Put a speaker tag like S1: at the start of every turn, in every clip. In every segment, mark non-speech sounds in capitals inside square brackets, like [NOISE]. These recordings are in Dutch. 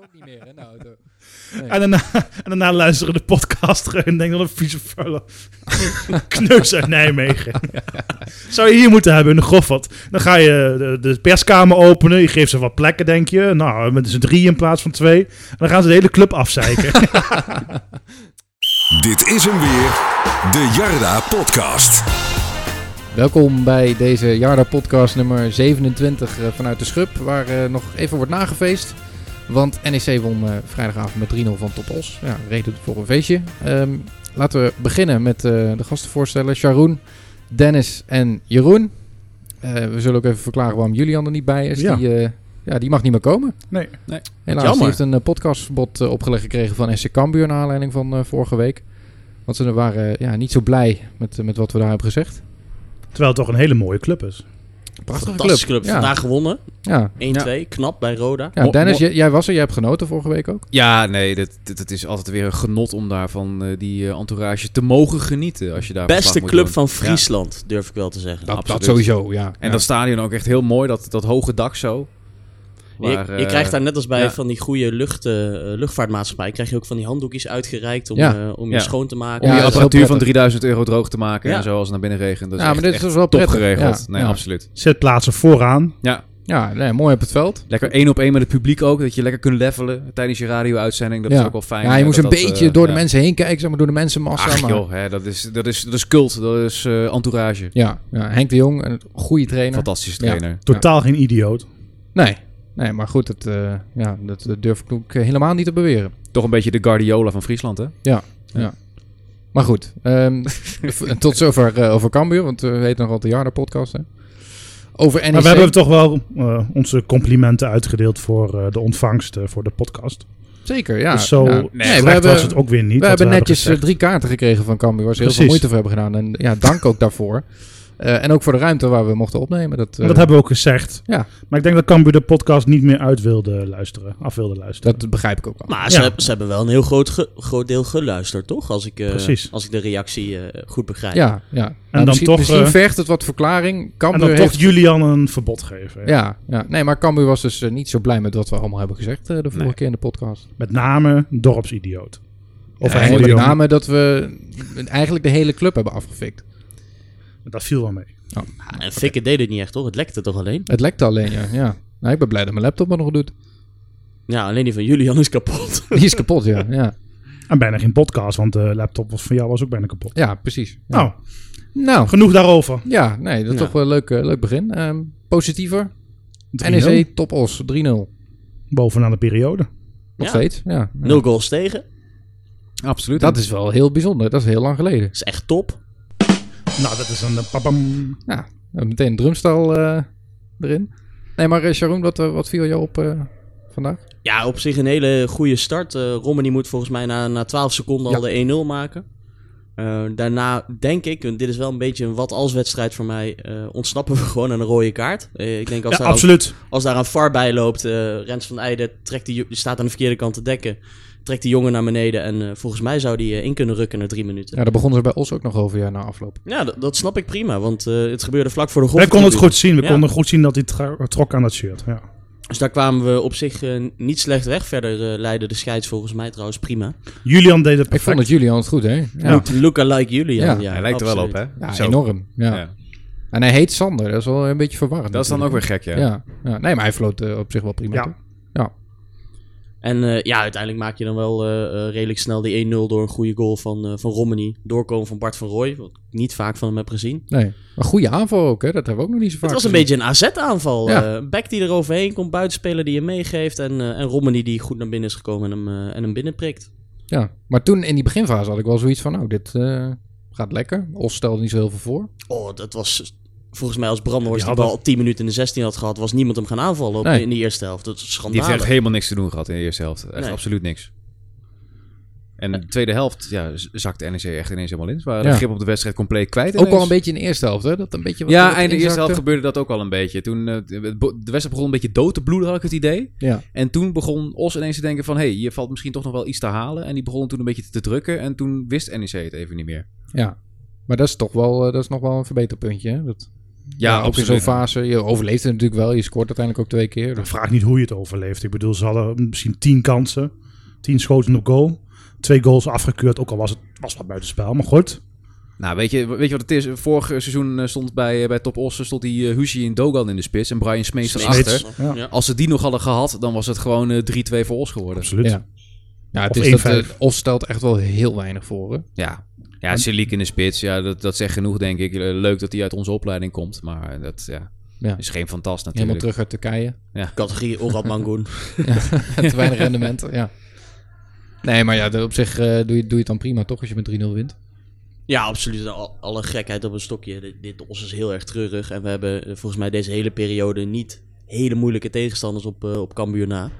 S1: ook niet meer hè, in de auto. Nee.
S2: En daarna, [LAUGHS] en daarna luisteren de podcast terug en denken dat een vieze vuile [LAUGHS] kneus uit
S1: [LAUGHS]
S2: Nijmegen. Zou je hier moeten hebben in de Goffert. Dan ga je de, de perskamer openen, je geeft ze wat plekken, denk je. Nou, met z'n drie in plaats van twee. En dan gaan ze de hele club
S1: [LAUGHS]
S2: afzeiken. [LAUGHS]
S3: Dit is hem weer, de Jarda Podcast.
S1: Welkom bij deze Jarda podcast nummer 27 eh, vanuit de Schub, waar eh, nog even wordt nagefeest. Want NEC won eh, vrijdagavond met 3-0 van Topos. Ja, reden voor een feestje. Ehm, laten we beginnen met eh, de gasten voorstellen. Sharoen, Dennis en Jeroen. Eh, we zullen ook even verklaren waarom Julian er niet bij is.
S2: Ja.
S1: Die, eh, ja, die mag niet meer komen.
S2: Nee.
S4: Nee.
S1: Helaas, die
S4: Jammer.
S1: heeft een eh, podcastverbod eh, opgelegd gekregen van SC Cambuur... naar aanleiding van eh, vorige week. Want ze waren eh, ja, niet zo blij met, eh, met wat we daar hebben gezegd.
S2: Terwijl het toch een hele mooie club is.
S1: Prachtige club.
S4: Fantastische club.
S1: Ja.
S4: Vandaag gewonnen. 1-2.
S1: Ja.
S4: Knap bij Roda.
S1: Ja,
S5: Mo-
S1: Dennis,
S5: mo-
S1: j- jij was er. Jij hebt genoten vorige week ook.
S5: Ja, nee, dat, dat, dat is altijd weer een genot om daarvan eh, die eh, entourage te mogen genieten. Als je daar verslag
S4: Beste
S5: moet
S4: club
S5: doen.
S4: van
S5: Ja.
S4: Friesland, durf ik wel te zeggen.
S5: Dat- absoluut.
S1: sowieso, ja.
S5: En dat stadion ook echt heel mooi, dat, dat hoge dak zo.
S4: je,
S5: Waar,
S4: je
S5: eh,
S4: krijgt daar net als bij
S5: ja.
S4: van die goede lucht, eh, luchtvaartmaatschappij, krijg je ook van die handdoekjes uitgereikt om,
S1: Ja.
S4: eh, om je
S5: Ja.
S4: schoon te maken. dus-
S1: Ja,
S5: Om je
S1: dat is
S5: apparatuur
S1: heel
S5: van
S1: prettig.
S5: 3000 euro droog te maken
S4: Ja.
S5: en zo als het naar binnen regent. Dat is
S1: Ja,
S5: echt,
S1: maar dit is dus
S5: echt
S1: wel
S5: top
S1: prettig.
S5: geregeld.
S1: Ja.
S5: Nee,
S1: Ja.
S5: absoluut.
S2: Zitplaatsen vooraan.
S5: Ja,
S1: Ja, nee, mooi op het veld.
S5: lekker één op één met het publiek ook. Dat je lekker kunt levelen tijdens je radio-uitzending. Dat
S1: ja.
S5: is ook wel fijn.
S1: Ja, je
S5: eh,
S1: moest
S5: dat
S1: een
S5: dat,
S1: beetje
S5: eh,
S1: door de
S5: ja.
S1: mensen heen kijken, zeg maar, door de mensenmassa.
S5: Ach
S1: maar-
S5: joh, hè, dat, is, dat, is, dat is cult. Dat is eh, entourage.
S1: Ja, ja, Henk de Jong, een goede trainer.
S5: Fantastische
S1: Ja.
S5: trainer.
S2: Totaal geen idioot.
S1: Nee, nee, maar goed, dat, eh, ja, dat, dat durf ik ook eh, helemaal niet te beweren.
S5: Toch een beetje de Guardiola van Friesland, hè?
S1: Maar goed,
S5: [LAUGHS]
S1: ehm, v- tot zover eh, over Cambuur, want we weten nog wat de Jarda podcast. Hè. Over E NEC.
S2: Maar we hebben toch wel eh, onze complimenten uitgedeeld voor eh, de ontvangst eh, voor de podcast.
S1: Zeker, ja.
S2: dus zo
S1: ja.
S2: nee, slecht was het ook weer niet.
S1: We
S2: wat
S1: hebben
S2: we
S1: netjes eh,
S2: gezegd.
S1: drie kaarten gekregen van Cambuur, waar ze heel veel
S2: Precies.
S1: moeite voor hebben gedaan. En ja, dank ook daarvoor.
S2: [LAUGHS]
S1: Eh, en ook voor de ruimte waar we mochten opnemen. Dat, eh,
S2: Maar dat hebben we ook gezegd.
S1: Ja.
S2: Maar ik denk dat Cambuur de podcast niet meer uit wilde luisteren, af wilde luisteren.
S1: dat begrijp ik ook wel.
S4: Maar ze,
S2: Ja.
S4: hebben, ze hebben wel een heel groot, ge- groot deel geluisterd, toch? Als ik, eh,
S2: Precies.
S4: Als ik de reactie eh, goed begrijp.
S1: ja, ja. En
S2: dan
S1: misschien,
S2: toch,
S1: Misschien
S2: eh,
S1: vergt het wat verklaring.
S2: en
S1: Cambuur
S2: dan
S1: heeft...
S2: toch Julian een verbod geven. hè.
S1: Ja, ja, nee, maar Cambuur was dus eh, niet zo blij met wat we allemaal hebben gezegd eh, de vorige
S5: Nee.
S1: keer in de podcast.
S2: Met name dorpsidioot.
S1: Ja,
S2: Of
S1: en
S2: eigenlijk
S1: met name dat we eigenlijk de hele club hebben afgefikt.
S2: Dat viel wel mee.
S4: En Fikke deed het niet echt, toch? Het lekte toch alleen?
S1: Het lekte alleen, ja. ja. Nou, ik ben blij dat mijn laptop me nog
S2: [LAUGHS]
S1: doet.
S4: Ja, alleen die van Julian is kapot. [LAUGHS]
S1: Die is kapot, ja. Ja,
S2: En bijna geen podcast, want de laptop was van jou was ook bijna kapot.
S1: ja precies. Ja.
S2: Nou,
S1: nou,
S2: genoeg daarover.
S1: ja, nee, dat is
S4: Ja.
S1: toch wel een leuk, eh, leuk begin. Ehm, positiever,
S2: 3-0.
S1: NEC E, top os 3-0. Nog
S2: Bovenaan de periode.
S4: Ja.
S1: steeds. Ja.
S4: Nul goals tegen.
S5: Absoluut.
S1: Dat is wel heel bijzonder. Dat is heel lang geleden.
S4: is echt top.
S2: Nou, dat is een... eh, papam.
S1: Ja, eh, meteen een drumstel eh, erin. Nee, maar eh, Sharon, wat, eh, wat viel jou op eh, vandaag?
S4: Ja, op zich een hele goede start. Eh Romney moet volgens mij na, na 12 seconden al de 1-0 maken. Eh, daarna denk ik, en dit is wel een beetje een wat-als-wedstrijd voor mij, eh, ontsnappen we [LAUGHS] gewoon aan een rode kaart. Eh, ik denk als,
S2: Ja,
S4: daar, een-
S2: absoluut.
S4: als daar een VAR bij loopt, eh, Rens van Eijden trekt die, jo- die staat aan de verkeerde kant te dekken, trekt die jongen naar beneden en eh, volgens mij zou die eh, in kunnen rukken na drie minuten.
S1: Ja, daar begonnen ze bij ons ook nog over ja, na afloop.
S4: Ja, dat, dat snap ik prima, want eh, het gebeurde vlak voor de golf.
S2: Wij konden het goed zien. We
S4: Ja.
S2: konden goed zien dat hij tra- trok aan dat shirt. Ja.
S4: Dus daar kwamen we op zich eh, niet slecht weg. Verder eh, leidde de scheids volgens mij trouwens prima.
S2: Julian deed het
S1: Ik
S2: perfect.
S1: vond het jullie al het goed, hè? Ja, ja.
S4: Luca like Julian.
S1: Ja,
S4: Ja,
S5: Hij lijkt er wel op,
S4: absoluut.
S5: hè? Zo.
S1: enorm. Ja.
S5: Ja.
S1: En hij heet Sander. Dat is wel een beetje verwarrend.
S5: Dat is dan ook weer
S1: natuurlijk.
S5: gek, ja.
S1: Ja. ja. Nee, maar hij floot eh, op zich wel prima.
S2: Ja.
S1: toch?
S4: En eh, ja, uiteindelijk maak je dan wel eh, eh, redelijk snel die 1-0 door een goede goal van, eh van Romney. Doorkomen van Bart van Rooij, wat ik niet vaak van hem heb gezien.
S1: Nee. Maar goede aanval ook, hè? Dat hebben we ook nog niet zo vaak
S4: het was een
S1: gezien.
S4: beetje een AZ-aanval.
S1: Ja.
S4: eh een back die er overheen komt, buitenspeler die hem meegeeft. En, eh en Romney die goed naar binnen is gekomen en hem, eh, en hem binnenprikt.
S1: Ja. Maar toen in die beginfase had ik wel zoiets van, nou, dit eh, gaat lekker. Os stelde niet zo heel veel voor.
S4: Oh, dat was... Volgens mij als Brandhorst
S2: Die
S4: die
S2: had
S4: bal
S2: dat-
S4: 10 minuten in de 16 had gehad, was niemand hem gaan aanvallen op,
S1: Nee.
S4: in de eerste helft. Dat is
S5: Die heeft echt
S4: schandalig.
S5: helemaal niks te doen gehad in de eerste helft. Echt
S4: Nee.
S5: absoluut niks. En de tweede helft ja, z- zakte NEC echt ineens helemaal in. Ze waren
S1: Ja.
S5: de grip op de wedstrijd compleet kwijt.
S1: Ook al een
S5: ineens.
S1: beetje in de eerste helft, hè? Dat een beetje wat
S5: Ja,
S1: wat
S5: eind de eerste
S1: inzakte.
S5: helft gebeurde dat ook al een beetje. Toen, eh, de de wedstrijd begon een beetje dood te bloeden, had ik het idee.
S1: Ja.
S5: En toen begon Os ineens te denken van... hé, hey, hier valt misschien toch nog wel iets te halen. En die begon toen een beetje te drukken. En toen wist NEC E het even niet meer.
S1: Ja, maar dat is toch wel, eh, dat is nog wel een verbeterpuntje. Hè? Dat, Ja, ook in zo'n
S5: absoluut.
S1: fase. Je overleeft het natuurlijk wel. Je scoort uiteindelijk ook twee keer.
S2: Dan
S1: Dus
S2: Nou, vraag ik niet hoe je het overleeft. Ik bedoel, ze hadden misschien tien kansen. Tien schoten op goal. Twee goals afgekeurd, ook al was het was wat buitenspel. Maar goed,
S5: Nou, weet je, weet je wat het is? Vorig seizoen eh, stond bij, eh, bij Top Os stond die eh, Huzi en Dogan in de spits en Brian Smees erachter.
S2: Ja.
S4: Ja.
S5: Als ze die nog hadden gehad, dan was het gewoon eh, 3-2 voor Os geworden.
S2: absoluut.
S1: Ja. ja, het
S2: Of
S1: is dat,
S2: 1-5.
S1: eh, Os stelt echt wel heel weinig voor. hè.
S5: Ja, ja Seliek in de spits, ja, dat, dat zegt genoeg, denk ik. Eh, Leuk dat hij uit onze opleiding komt, maar eh, dat ja,
S1: Ja.
S5: is geen fantast
S1: Helemaal
S5: natuurlijk.
S1: terug uit Turkije.
S4: Categorie Orad Mangoen.
S1: Te weinig rendement. Ja. Nee, maar ja, de- op zich eh, doe, je, doe je het dan prima toch als je met 3-0 wint.
S4: Ja, absoluut. Al- Alle gekheid op een stokje. Dit- Dit ons is heel erg treurig. En we hebben eh, volgens mij deze hele periode niet hele moeilijke tegenstanders op, eh, op Cambuur na.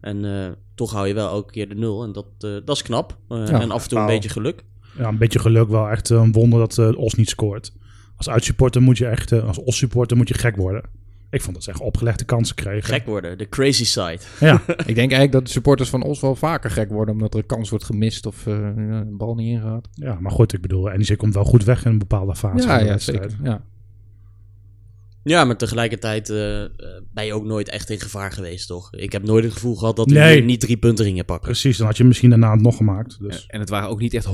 S4: En eh, toch hou je wel elke keer de nul. En dat, eh, dat is knap. Eh,
S1: Ja.
S4: en af en toe een
S2: Nou.
S4: beetje geluk.
S2: Ja, een beetje geluk wel. Echt een wonder dat eh, Os niet scoort. Als uitsupporter moet je echt, eh, als Os-supporter moet je gek worden. Ik vond dat ze echt opgelegde kansen kregen.
S4: Gek worden. De crazy side.
S2: Ja,
S1: Ik denk eigenlijk dat de supporters van Os wel vaker gek worden. Omdat er een kans wordt gemist of eh, ja, een bal niet ingaat.
S2: ja, maar goed, ik bedoel, NEC komt wel goed weg in een bepaalde fase.
S1: Ja,
S2: van de
S1: ja,
S2: wedstrijd.
S1: zeker. Ja.
S4: Ja, maar tegelijkertijd eh, eh, ben je ook nooit echt in gevaar geweest, toch? Ik heb nooit het gevoel gehad dat we
S2: Nee.
S4: hier niet drie punten gingen pakken.
S2: Precies, dan had je misschien daarna het nog gemaakt.
S5: Ja,
S2: Dus.
S5: En het waren ook niet echt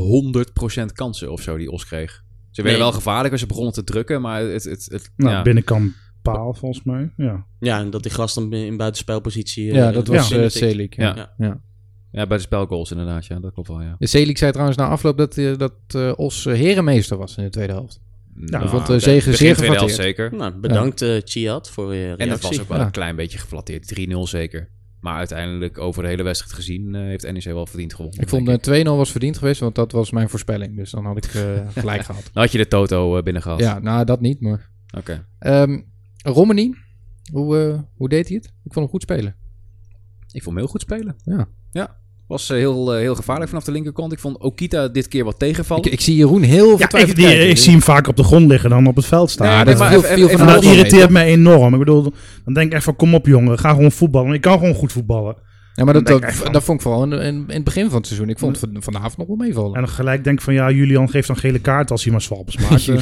S5: 100% kansen of zo die Os kreeg. Ze werden
S4: Nee.
S5: wel gevaarlijk als ze begonnen te drukken, maar het... het, het
S2: Nou,
S5: ja.
S2: binnenkant paal volgens mij. Ja.
S4: Ja, en dat die gast dan in buitenspelpositie... eh,
S1: ja, dat was
S2: ja.
S1: eh
S4: binnentikt.
S1: Celik. Ja.
S5: Ja. ja, bij de spelgoals inderdaad, ja, dat klopt wel, ja.
S1: De Celik zei trouwens na afloop dat, eh, dat eh, Os eh, herenmeester was in de tweede helft.
S5: Nou,
S1: ik vond de
S5: oké.
S1: zegen
S5: Begin
S1: eh, zeer
S5: tweede helft
S1: geflatteerd.
S5: zeker.
S4: Nou, bedankt eh Chiad voor je reactie.
S5: En dat was ook wel
S1: Ja.
S5: een klein beetje geflatteerd. 3-0 zeker. Maar uiteindelijk over de hele wedstrijd gezien eh, heeft NEC wel verdiend gewonnen.
S1: Ik vond
S5: denk
S1: eh, 2-0 was verdiend geweest, want dat was mijn voorspelling. Dus dan had ik
S2: [LAUGHS]
S1: eh, gelijk gehad.
S5: Dan had je de Toto eh, binnen gehad.
S1: Ja, nou dat niet, maar...
S5: Oké.
S1: Ehm Romani, hoe, eh, hoe deed hij het? Ik vond hem goed spelen.
S5: Ik vond hem heel goed spelen.
S1: Ja.
S5: Ja. Was eh, heel, eh, heel gevaarlijk vanaf de linkerkant. Ik vond Okita dit keer wat tegenvallen.
S1: Ik, ik zie Jeroen heel
S2: Ja,
S1: vertwijfeld
S2: ik, die- eh,
S1: kijken.
S2: ik zie hem vaak op de grond liggen dan op het veld staan.
S1: Ja,
S5: Nee,
S1: dat
S5: maar
S1: viel,
S5: even-
S1: viel van
S5: even-
S2: En
S5: Nou,
S2: dat
S1: alles mee,
S2: irriteert
S1: toch?
S2: mij enorm. Ik bedoel, dan denk ik echt van kom op jongen, ga gewoon voetballen. Ik kan gewoon goed voetballen.
S1: Ja, maar dat,
S2: Dan denk ik
S1: dat,
S2: echt van-
S1: dat vond ik vooral in, in, in het begin van het seizoen. Ik vond het van, vanavond nog wel meevallen.
S2: En dan gelijk denk ik van ja, Julian geeft dan gele kaart als hij maar swalbes
S5: [LAUGHS]
S2: maakt. Eh,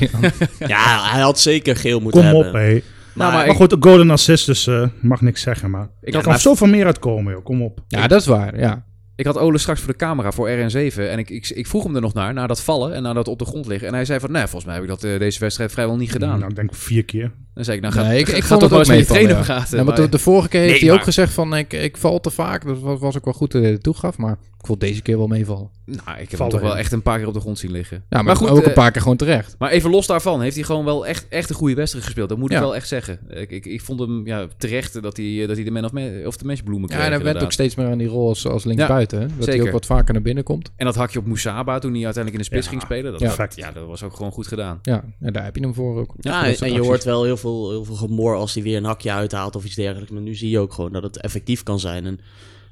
S4: Ja, hij had zeker geel moeten
S2: kom op,
S4: hebben.
S2: hé.
S5: Nou,
S2: Maar
S5: maar ik-
S2: goed, een golden assist, dus eh, mag niks zeggen. Maar
S5: Ik
S2: ik
S5: had
S2: kan
S5: maar-
S2: zoveel meer uitkomen, joh. Kom op.
S1: [LAUGHS] ja, dat is waar. Ja.
S5: Ik had Ole straks voor de camera voor RN7. En ik, ik, ik vroeg hem er nog naar, na dat vallen en na dat op de grond liggen. En hij zei van, nee, volgens mij heb ik dat eh, deze wedstrijd vrijwel niet gedaan.
S2: Nou, ik denk vier keer.
S5: Dan zei ik, nou gaat [LAUGHS]
S1: Nee, ik- ik
S5: gaat
S1: vond
S5: toch
S1: het ook
S5: wel eens met
S1: meevallen,
S5: je trainer
S1: ja.
S5: praten.
S1: Ja, maar
S5: maar-
S1: de, de vorige keer heeft
S5: Nee,
S1: hij ook
S5: maar-
S1: gezegd van ik, ik val te vaak. Dat was, was ook wel goed dat hij er toegaf, maar ik vond deze keer wel meevallen.
S5: Nou, ik heb hem
S2: Vallen,
S5: toch wel
S2: ja.
S5: echt een paar keer op de grond zien liggen.
S1: Ja, maar, goed, ook
S5: eh,
S1: een paar keer gewoon terecht.
S5: Maar even los daarvan, heeft hij gewoon wel echt, echt een goede wedstrijd gespeeld. Dat moet ik
S1: Ja.
S5: wel echt zeggen. Ik, ik, ik vond hem ja, terecht dat hij, eh, dat hij de man of, ma- of de matchbloemen kreeg.
S1: Ja, en hij went ook
S5: inderdaad.
S1: steeds meer aan die rol als, als linksbuiten. hè. dat hij
S5: zeker.
S1: ook wat vaker naar binnen komt.
S5: En dat hakje op Moesaba toen hij uiteindelijk in de spits
S2: Ja,
S5: ging spelen. Dat,
S1: ja.
S5: dat- ja, dat was ook gewoon goed gedaan.
S1: Ja, en daar heb je hem voor ook.
S4: Ja,
S1: Voor
S4: en
S1: dat soort
S4: en je
S1: acties.
S4: hoort wel heel veel, heel veel gemoor als hij weer een hakje uithaalt of iets dergelijks. Maar nu zie je ook gewoon dat het effectief kan zijn. En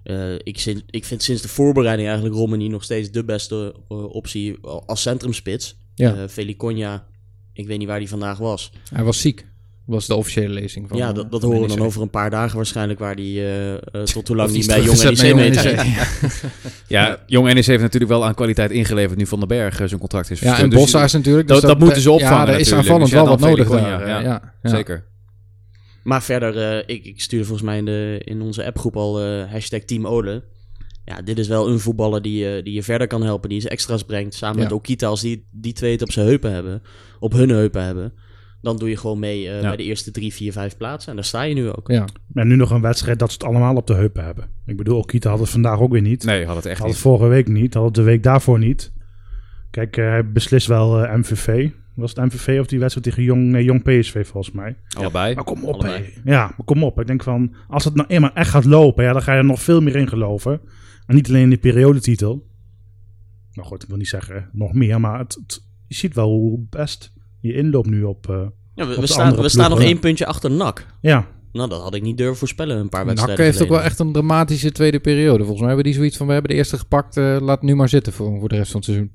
S4: eh, ik, zin- ik vind sinds de voorbereiding eigenlijk Romani nog steeds de beste eh, optie als centrumspits.
S1: Ja.
S4: Eh, Velikonja, ik weet niet waar die vandaag was.
S1: Hij was ziek, was de officiële lezing van
S4: ja,
S1: eh,
S4: dat, dat
S1: van
S4: horen we dan
S1: NEC.
S4: over een paar dagen waarschijnlijk waar die eh, eh, tot hoe lang
S1: Of
S4: niet
S1: die
S4: bij
S1: is
S4: Jong E
S1: teruggezet
S4: NEC
S1: bij
S4: mee
S1: Jong E
S4: traint.
S5: Ja, Jong NEC heeft natuurlijk wel aan kwaliteit ingeleverd nu Van den Berg eh, zijn contract is [LAUGHS]
S1: Ja,
S5: verstuurd.
S1: en
S5: Dus
S1: Bossa is natuurlijk...
S5: dat- dat moeten ze opvangen
S1: Ja, daar is
S5: natuurlijk.
S1: aanvallend
S5: Dus ja,
S1: wel wat
S5: dan
S1: nodig
S5: Feliconia,
S1: daar. eh,
S5: ja.
S1: Ja, ja.
S5: Dus- Zeker.
S4: Maar verder, eh, ik, ik stuurde volgens mij in, de, in onze appgroep al eh, hashtag Team Ole. Ja, dit is wel een voetballer die, je- die je verder kan helpen. Die ze extra's brengt. Samen
S1: Ja.
S4: met Okita, als die, die twee het op zijn heupen hebben. Op hun heupen hebben. Dan doe je gewoon mee eh,
S5: Ja.
S4: bij de eerste drie, vier, vijf plaatsen. En daar sta je nu ook.
S1: Ja.
S2: En nu nog een wedstrijd dat ze het allemaal op de heupen hebben. Ik bedoel, Okita had het vandaag ook weer niet.
S5: Nee, had het echt
S2: Had het
S5: niet.
S2: vorige week niet, had het de week daarvoor niet. Kijk, eh, hij beslist wel eh, MVV. Was het MVV of die wedstrijd tegen Jong, eh, Jong PSV volgens mij?
S5: Allebei.
S2: Maar kom op,
S4: allebei.
S2: hé. Ja, maar kom op. Ik denk van, als het nou eenmaal echt gaat lopen, ja, dan ga je er nog veel meer in geloven. En niet alleen in de periodetitel. Nou goed, ik wil niet zeggen nog meer, maar het, het- je ziet wel hoe best je inloopt nu op... eh,
S4: Ja, we
S2: Op
S4: we
S2: de
S4: staan,
S2: andere
S4: we staan
S2: ploeg,
S4: nog
S2: ja.
S4: één puntje achter NAC.
S2: ja,
S4: Nou, dat had ik niet durven voorspellen een paar
S1: NAC
S4: wedstrijden
S1: heeft Nou, ook wel
S4: geleden.
S1: echt een dramatische tweede periode. Volgens mij hebben die zoiets van, we hebben de eerste gepakt, eh, laat nu maar zitten voor, voor de rest van het seizoen.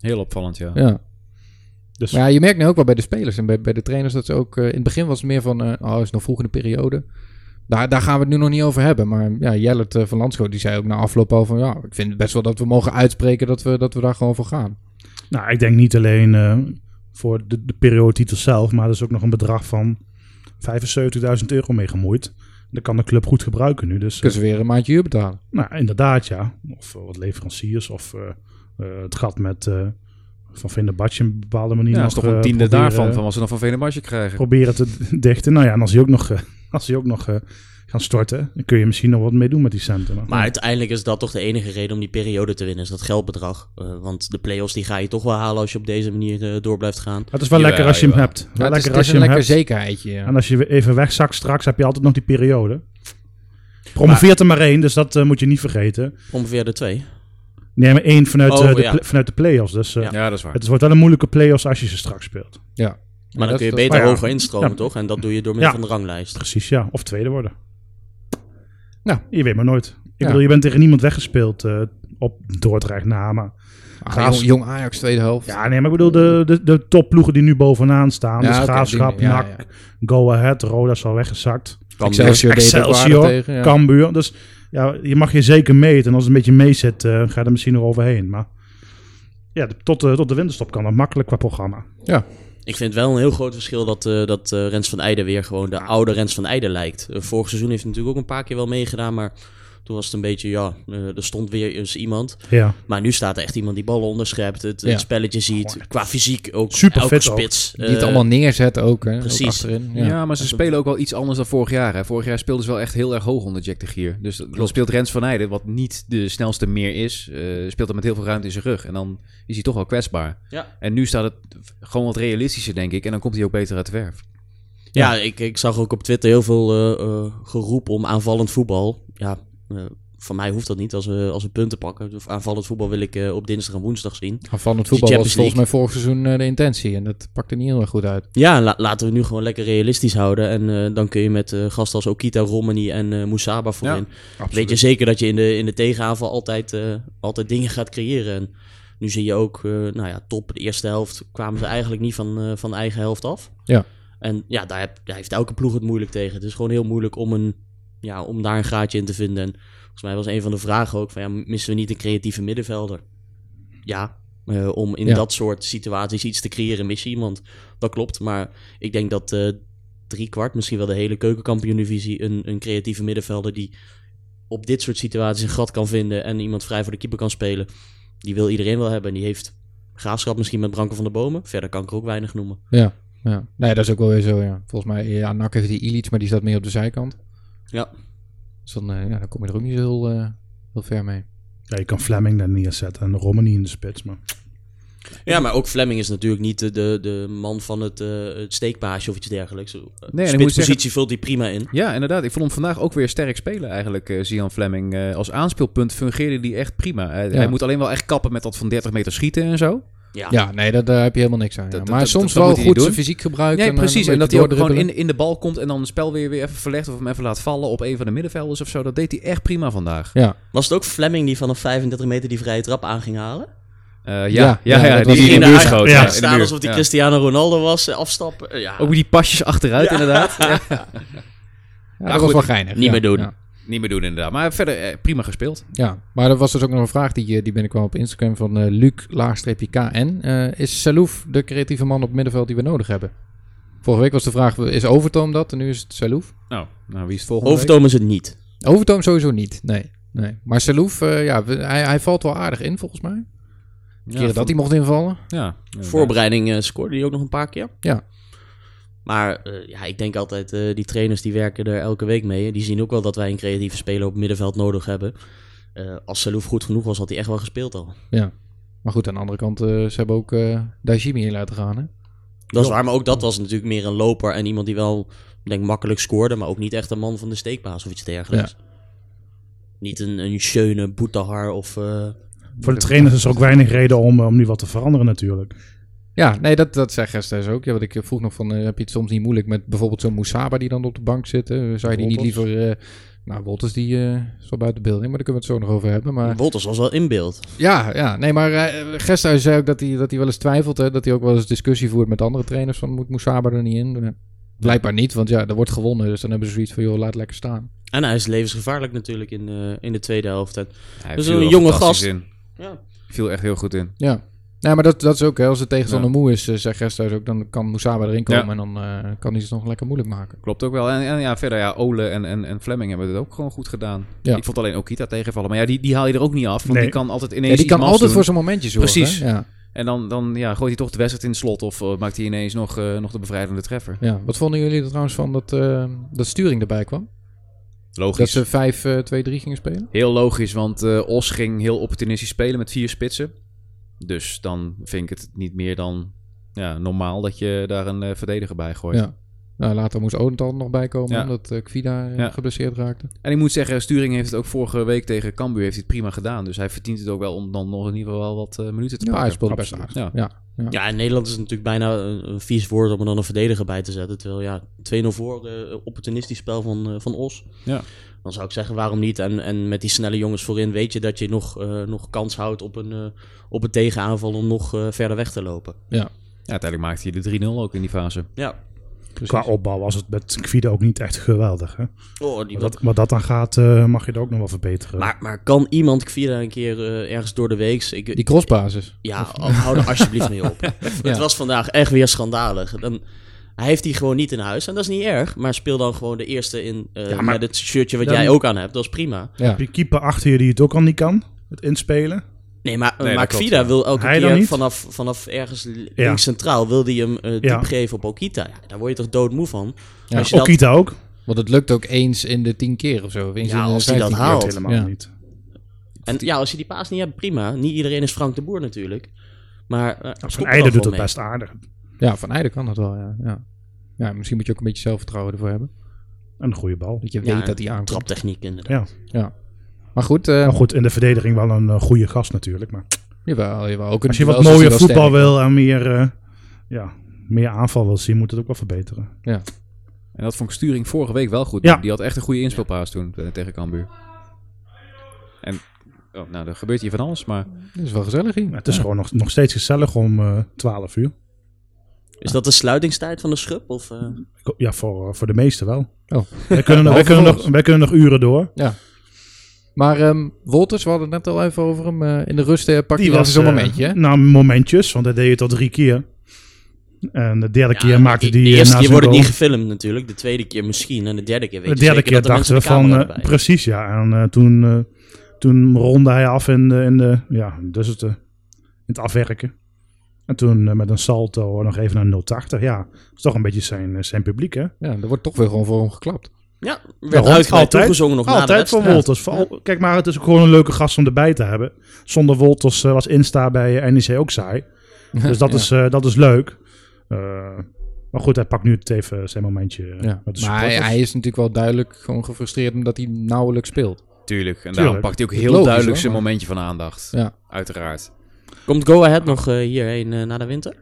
S5: Heel opvallend, ja.
S1: Ja.
S2: dus
S1: Maar ja, je merkt nu ook wel bij de spelers en bij, bij de trainers dat ze ook... eh, in het begin was het meer van, eh oh, is nog vroeg in de periode. Daar, daar gaan we het nu nog niet over hebben. Maar ja, Jellert eh, van Landschot, die zei ook na afloop al van... Ja, ik vind het best wel dat we mogen uitspreken dat we, dat we daar gewoon voor gaan.
S2: nou, ik denk niet alleen eh, voor de, de periodetitel zelf. Maar er is ook nog een bedrag van 75.000 euro mee gemoeid. Dat kan de club goed gebruiken nu. Dus eh,
S1: Kunnen ze weer een maandje huur betalen?
S2: nou, inderdaad, ja. Of eh, wat leveranciers. Of eh, eh, het gaat met eh Van Vinderbadje een bepaalde manier.
S5: Ja, dat
S2: nog,
S5: is toch een
S2: eh,
S5: tiende
S2: proberen-
S5: daarvan, van wat ze dan van Venemarge krijgen.
S2: proberen te dichten. Nou ja, en als die ook nog, eh, [LAUGHS] als die ook nog eh, gaan storten, dan kun je misschien nog wat mee doen met die centen.
S4: Maar uiteindelijk is dat toch de enige reden om die periode te winnen, is dat geldbedrag. Eh, want de play-offs die ga je toch wel halen als je op deze manier eh, door blijft gaan.
S2: het is wel
S5: Jawel,
S2: lekker als je hem
S5: jawel.
S2: hebt.
S1: Ja,
S2: Wel
S1: het is,
S2: lekker
S1: het is
S2: als je
S1: een
S2: hem
S1: lekker
S2: hebt.
S1: zekerheidje. ja.
S2: En als je weer even wegzakt straks, heb je altijd nog die periode. Promoveert er maar één, dus dat eh, moet je niet vergeten.
S4: Ongeveer de twee.
S2: Nee, maar één vanuit,
S4: Oh,
S2: eh, de,
S4: ja.
S2: pla- vanuit de play-offs. Dus eh,
S4: Ja.
S5: Ja, dat is waar.
S2: het wordt wel een moeilijke play-offs als je ze straks speelt.
S1: Ja.
S4: Maar dan
S1: dat-
S4: kun je
S1: dat-
S4: beter
S2: maar ja.
S4: hoger instromen,
S2: Ja.
S4: toch? En dat doe je door middel
S2: Ja.
S4: van de ranglijst.
S2: Precies, ja. Of tweede worden.
S1: Nou.
S2: Je weet maar nooit. Ik
S1: Ja.
S2: bedoel, je bent tegen niemand weggespeeld eh, op Dordrecht na, maar... Mm.
S1: Ah,
S2: Graafs-
S1: jong, jong Ajax, tweede helft.
S2: Ja, nee, maar ik bedoel, de, de, de topploegen die nu bovenaan staan.
S1: Ja,
S2: dus
S1: oké,
S2: Graafschap,
S1: die- ja,
S2: NAC, Go Ahead, Roda is al weggezakt.
S4: Kan
S1: Excelsior deed ook waarde
S2: Excelsior,
S1: tegen. Ja.
S2: Cambuur. Dus ja, je mag je zeker meten. En als het een beetje mee zit, eh, ga je er misschien nog overheen. Maar ja, de- tot, de- tot de winterstop kan dat makkelijk qua programma.
S4: Ik vind wel een heel groot verschil dat, eh, dat eh, Rens van Eijden weer gewoon de oude Rens van Eijden lijkt. Eh, vorig seizoen heeft hij natuurlijk ook een paar keer wel meegedaan, maar toen was het een beetje, ja, eh, er stond weer eens iemand.
S2: Ja,
S4: Maar nu staat er echt iemand die ballen onderschept, het, het
S1: Ja.
S4: spelletje ziet, qua fysiek ook.
S2: Super
S4: elke
S2: fit ook.
S4: spits.
S1: Die het
S4: eh,
S1: allemaal neerzet ook. Hè.
S4: precies.
S1: Ook achterin. Ja.
S5: Ja. maar ze spelen ook wel iets anders dan vorig jaar. Hè. Vorig jaar speelden ze wel echt heel erg hoog onder Jack de Gier. Dus dat- dan speelt Rens van Heijden, wat niet de snelste meer is, eh, speelt hem met heel veel ruimte in zijn rug. En dan is hij toch wel kwetsbaar.
S4: Ja.
S5: En nu staat het gewoon wat realistischer, denk ik. En dan komt hij ook beter uit de werf.
S4: Ja, ik, ik zag ook op Twitter heel veel eh, eh, geroep om aanvallend voetbal. Ja, eh, van mij hoeft dat niet als we, als we punten pakken. Dus Aanvallend voetbal wil ik eh, op dinsdag en woensdag zien.
S1: Van het voetbal was
S4: Champions
S1: volgens mij vorig seizoen eh, de intentie. En dat pakte niet heel erg goed uit.
S4: Ja, la- laten we nu gewoon lekker realistisch houden. En eh, dan kun je met eh, gasten als Okita, Romani en eh Moussaba voorin. weet je zeker dat je in de, in de tegenaanval altijd, eh, altijd dingen gaat creëren. En nu zie je ook, eh, nou ja, top de eerste helft kwamen ze eigenlijk niet van, eh, van de eigen helft af.
S1: Ja.
S4: En ja, daar, heb, daar heeft elke ploeg het moeilijk tegen. Het is gewoon heel moeilijk om, een, ja, om daar een gaatje in te vinden. En volgens mij was een van de vragen ook van, ja, missen we niet een creatieve middenvelder? Ja, eh, om in
S1: Ja.
S4: dat soort situaties iets te creëren, mis je iemand. Dat klopt, maar ik denk dat eh drie kwart, misschien wel de hele keukenkampioen-divisie, een, een creatieve middenvelder die op dit soort situaties een gat kan vinden en iemand vrij voor de keeper kan spelen, die wil iedereen wel hebben. En die heeft graafschap misschien met Branko van der Bomen. Verder kan ik er ook weinig noemen.
S1: Ja. Nee, dat is ook wel weer zo. Ja. Volgens mij, ja, Nak heeft die Illich, maar die staat meer op de zijkant.
S4: Ja.
S1: Dus dan, eh, ja, dan kom je er ook niet zo heel, eh, heel ver mee.
S2: ja, je kan Fleming daar neerzetten en Romani in de spits. Maar
S4: Ja, maar ook Fleming is natuurlijk niet de, de, de man van het, eh het steekpaasje of iets dergelijks. Nee,
S5: moet
S4: Spitspositie
S5: zeggen-
S4: vult hij prima in.
S5: Ja, inderdaad. Ik vond hem vandaag ook weer sterk spelen eigenlijk, eh Zian Fleming. Eh, als aanspeelpunt fungeerde die echt prima. Hij-
S1: Ja.
S5: Hij moet alleen wel echt kappen met dat van 30 meter schieten en zo.
S4: Ja.
S1: Ja, nee, daar, daar heb je helemaal niks aan. ja.
S5: Ah. dat-
S1: Maar
S5: dat-
S1: soms
S5: dat moet
S1: wel
S5: hij
S1: goed
S5: doen.
S1: zijn fysiek gebruiken.
S5: Nee,
S1: en dan
S5: precies.
S1: een
S5: En dat hij
S1: beetje
S5: ook gewoon
S1: doordribbelen.
S5: in, in de bal komt en dan het spel weer, weer even verlegt of hem even laat vallen op een van de middenvelders of zo. Dat deed hij echt prima vandaag.
S1: Ja,
S4: Was het ook Fleming die vanaf 35 meter die vrije trap aan ging halen?
S5: Eh, ja,
S1: Ja,
S5: ja,
S1: ja,
S5: ja,
S1: dat
S5: die,
S1: was
S5: die
S1: in
S5: in
S1: de
S5: de muur
S4: eigen-
S5: schoot.
S2: ja,
S5: in de
S4: Staan
S5: muur.
S4: alsof die
S5: Ja.
S4: Cristiano Ronaldo was, eh, afstappen. Ja.
S5: Ook met die pasjes achteruit, inderdaad. Ja.
S1: ja, dat was wel geinig.
S4: niet
S1: ja.
S4: meer doen.
S1: Ja.
S5: Niet meer doen, inderdaad. Maar verder eh, prima gespeeld.
S1: Ja, maar er was dus ook nog een vraag die, eh, die binnenkwam op Instagram van eh Luc laagstreepje KN. Eh, is Salouf de creatieve man op het middenveld die we nodig hebben? Vorige week was de vraag, is Overtoom dat? En nu is het Salouf.
S5: Nou, nou wie is het volgende week?
S4: Overtoom is het niet.
S1: Overtoom sowieso niet, nee. nee. Maar Salouf, eh, ja, we- hij, hij valt wel aardig in volgens mij.
S5: Ja,
S1: De keren dat hij mocht invallen.
S5: Ja, inderdaad.
S4: Voorbereiding eh, scoorde hij ook nog een paar keer.
S1: Ja.
S4: Maar eh, ja, ik denk altijd, eh, die trainers die werken er elke week mee. Die zien ook wel dat wij een creatieve speler op middenveld nodig hebben. Eh, als Salouf goed genoeg was, had hij echt wel gespeeld al.
S1: Maar goed, aan de andere kant, eh, ze hebben ook eh Dajimi in laten gaan. Hè?
S4: Dat is waar, maar ook dat was natuurlijk meer een loper en iemand die wel, ik denk makkelijk scoorde, maar ook niet echt een man van de steekpaas of iets dergelijks. Niet een, een schöne Boetahar of... eh,
S2: voor de trainers is er ook weinig reden om, eh, om nu wat te veranderen natuurlijk.
S1: Ja, nee, dat, dat zei gisteren ook. Ja, want ik vroeg nog van, eh, heb je het soms niet moeilijk met bijvoorbeeld zo'n Moesaba die dan op de bank zit? hè? Zou je die niet
S2: Wolters.
S1: liever... eh, nou, Wolters die eh, is wel buiten beelding, maar daar kunnen we het zo nog over hebben. Maar
S4: Wolters was wel in beeld.
S1: ja, ja, nee, maar eh, gisteren zei ook dat hij, dat hij wel eens twijfelt. Hè, dat hij ook wel eens discussie voert met andere trainers van, moet Moesaba er niet in? Eh, Blijkbaar niet, want ja, er wordt gewonnen. Dus dan hebben ze zoiets van, joh, laat lekker staan.
S4: En hij is levensgevaarlijk natuurlijk in, eh, in de tweede helft. En
S5: Hij
S4: Dus
S5: viel
S4: een
S5: er
S4: jonge
S5: fantastisch
S4: gast.
S5: in.
S4: Ja.
S5: Viel echt heel goed in.
S1: Ja. Nou, maar dat, dat is ook, hè, als de tegenstander moe is, eh, zei gisteren ook, dan kan Moesaba erin komen
S5: Ja.
S1: en dan eh, kan hij het nog lekker moeilijk maken.
S5: Klopt ook wel. En, en ja, verder, ja, Ole en, en, en Fleming hebben het ook gewoon goed gedaan.
S1: Ja.
S5: Ik vond alleen Okita tegenvallen. Maar ja, die, die haal je er ook niet af. Want
S2: Nee.
S5: die kan altijd ineens
S1: Ja, die
S5: iets
S1: kan
S5: mals
S1: altijd
S5: doen.
S1: voor zo'n momentje zorgen.
S5: Precies.
S1: hè? Ja.
S5: En dan, dan ja, gooit hij toch de wedstrijd in het slot. Of eh, maakt hij ineens nog, eh, nog de bevrijdende treffer.
S1: Ja. Wat vonden jullie er trouwens van dat, eh, dat Sturing erbij kwam? Dat eh,
S5: Logisch.
S1: ze 5-2-3 gingen spelen?
S5: Heel logisch, want eh, Os ging heel opportunistisch spelen met vier spitsen. Dus dan vind ik het niet meer dan ja, normaal dat je daar een eh, verdediger bij gooit.
S1: Ja. Nou, later moest Odental nog bijkomen,
S5: Ja.
S1: omdat eh, Kvida eh,
S5: Ja.
S1: geblesseerd raakte.
S5: En ik moet zeggen, Sturing heeft het ook vorige week tegen Cambuur heeft hij het prima gedaan. Dus hij verdient het ook wel om dan nog in ieder geval wel wat eh, minuten te
S1: Ja, hij
S5: pakken.
S1: speelde best
S2: absoluut.
S1: aardig. Ja.
S4: Ja, in Nederland is het natuurlijk bijna een, een vies woord om er dan een verdediger bij te zetten. Terwijl ja, 2-0 voor, eh opportunistisch spel van, eh, van Os.
S5: Ja.
S4: Dan zou ik zeggen, waarom niet? En, en met die snelle jongens voorin weet je dat je nog, eh, nog kans houdt op een, eh, op een tegenaanval om nog eh, verder weg te lopen.
S5: Ja, uiteindelijk maakte hij de 3-0 ook in die fase.
S4: Ja,
S2: Qua opbouw was het met Quida ook niet echt geweldig. Hè?
S4: oh, die
S2: Wat, wat dat dan gaat, eh, mag je er ook nog wel verbeteren.
S4: Maar, maar kan iemand Kvira een keer eh, ergens door de week... Ik,
S1: Die crossbasis.
S4: ja, hou er alsjeblieft mee
S2: [LAUGHS]
S4: op. Het was vandaag echt weer schandalig. Dan, hij heeft die gewoon niet in huis. En dat is niet erg. Maar speel dan gewoon de eerste in eh,
S2: Ja, maar-
S4: met het shirtje wat
S2: Dan-
S4: jij ook aan hebt. Dat is prima.
S1: Ja.
S2: Heb je keeper achter je die het ook al niet kan? Het inspelen?
S4: Nee, maar,
S5: Nee,
S4: maar
S5: dat klopt,
S4: Kvida
S5: ja.
S4: wil elke
S2: Hij dan
S4: keer
S2: niet?
S4: vanaf, vanaf ergens links centraal... wil hij hem eh diep
S2: Ja.
S4: geven op Okita. Ja, daar word je toch doodmoe van?
S1: Ja.
S4: Als je dat,
S2: Okita ook?
S1: Want het lukt ook eens in de 10 keer of zo. of eens
S4: Ja,
S1: in eh, de
S4: als die
S1: 15
S4: dat
S1: keer.
S4: haalt.
S2: helemaal
S1: Ja.
S2: niet.
S4: en ja, als je die paas niet hebt, prima. Niet iedereen is Frank de Boer natuurlijk. Maar eh, stop
S2: Van
S4: er dan
S2: Eijden doet
S4: gewoon
S2: het
S4: mee.
S2: best aardig.
S1: Ja, van Eijden kan dat wel, ja. ja. Ja, misschien moet je ook een beetje zelfvertrouwen ervoor hebben.
S2: Een goede bal.
S1: Dat je
S4: Ja,
S1: weet dat hij aankomt.
S4: Traptechniek inderdaad.
S2: Ja.
S1: Maar goed, eh
S2: Maar goed, in de verdediging wel een eh, goede gast natuurlijk. Maar
S1: jawel, jawel. Ook een
S2: als je wat
S1: duel is hij
S2: mooier
S1: wel
S2: voetbal
S1: sterk.
S2: wil en meer, eh, ja, meer aanval wil zien, moet het ook wel verbeteren.
S5: En dat vond ik Sturing vorige week wel goed.
S2: Ja.
S5: Die had echt een goede inspeelpaas toen eh, tegen Cambuur. En oh, nou, er gebeurt hier van alles, maar
S1: Dat is wel gezellig hier.
S2: Maar het is gewoon nog, nog steeds gezellig om eh 12 uur.
S4: Is dat de sluitingstijd van de schub? Of, eh?
S2: Ik- Ja, voor, eh, voor de meesten wel.
S1: [LAUGHS] Oh.
S2: Wij, kunnen nog, wij,
S1: Behalve
S2: kunnen
S1: voor
S2: nog, wij kunnen nog uren door.
S1: Maar ehm, Wolters, we hadden het net al even over hem. eh, in de rust eh, pakte hij wel
S2: een
S1: zo'n
S2: [LAUGHS]
S1: momentje, hè?
S2: Nou, momentjes, want dat deed je tot drie keer. En de derde keer maakte
S4: de,
S2: die...
S4: De
S2: eh,
S4: eerste
S2: na
S4: keer
S2: zijn
S4: wordt het
S2: goal-
S4: niet gefilmd natuurlijk. De tweede keer misschien. En de derde keer weet
S2: De
S4: je
S2: derde
S4: zeker
S2: keer
S4: dat er
S2: dachten we
S4: mensen de
S2: van,
S4: camera
S2: eh,
S4: erbij hebben.
S2: precies ja. En eh, toen, eh, toen ronde hij af in de, in de ja, dus het, eh, in het afwerken. En toen eh, met een salto nog even naar 080. Ja, dat is toch een beetje zijn, eh, zijn publiek hè.
S1: Ja, er wordt toch weer gewoon voor hem geklapt.
S4: Ja,
S2: Ja,
S4: werd
S2: want
S4: uitgebreid
S2: altijd-
S4: toegezongen nog na de
S2: Altijd
S4: wedstrijd.
S2: voor Wolters. Vooral- Kijk maar, het is ook gewoon een leuke gast om erbij te hebben. Zonder Wolters eh, was Insta bij eh, NEC ook saai.
S4: [LAUGHS]
S2: Dus dat,
S1: Ja.
S2: is, eh, dat is leuk. Eh, maar goed, hij pakt nu het even zijn momentje eh,
S1: Ja.
S2: met de
S1: Maar hij,
S2: supporters.
S1: hij is natuurlijk wel duidelijk gewoon gefrustreerd omdat hij nauwelijks speelt.
S5: tuurlijk. En daarom pakt hij ook heel
S1: Logisch,
S5: duidelijk
S1: hoor,
S5: zijn
S1: maar-
S5: momentje van aandacht.
S1: Ja.
S5: Uiteraard.
S4: Komt Go Ahead nog eh, hierheen eh, na de winter?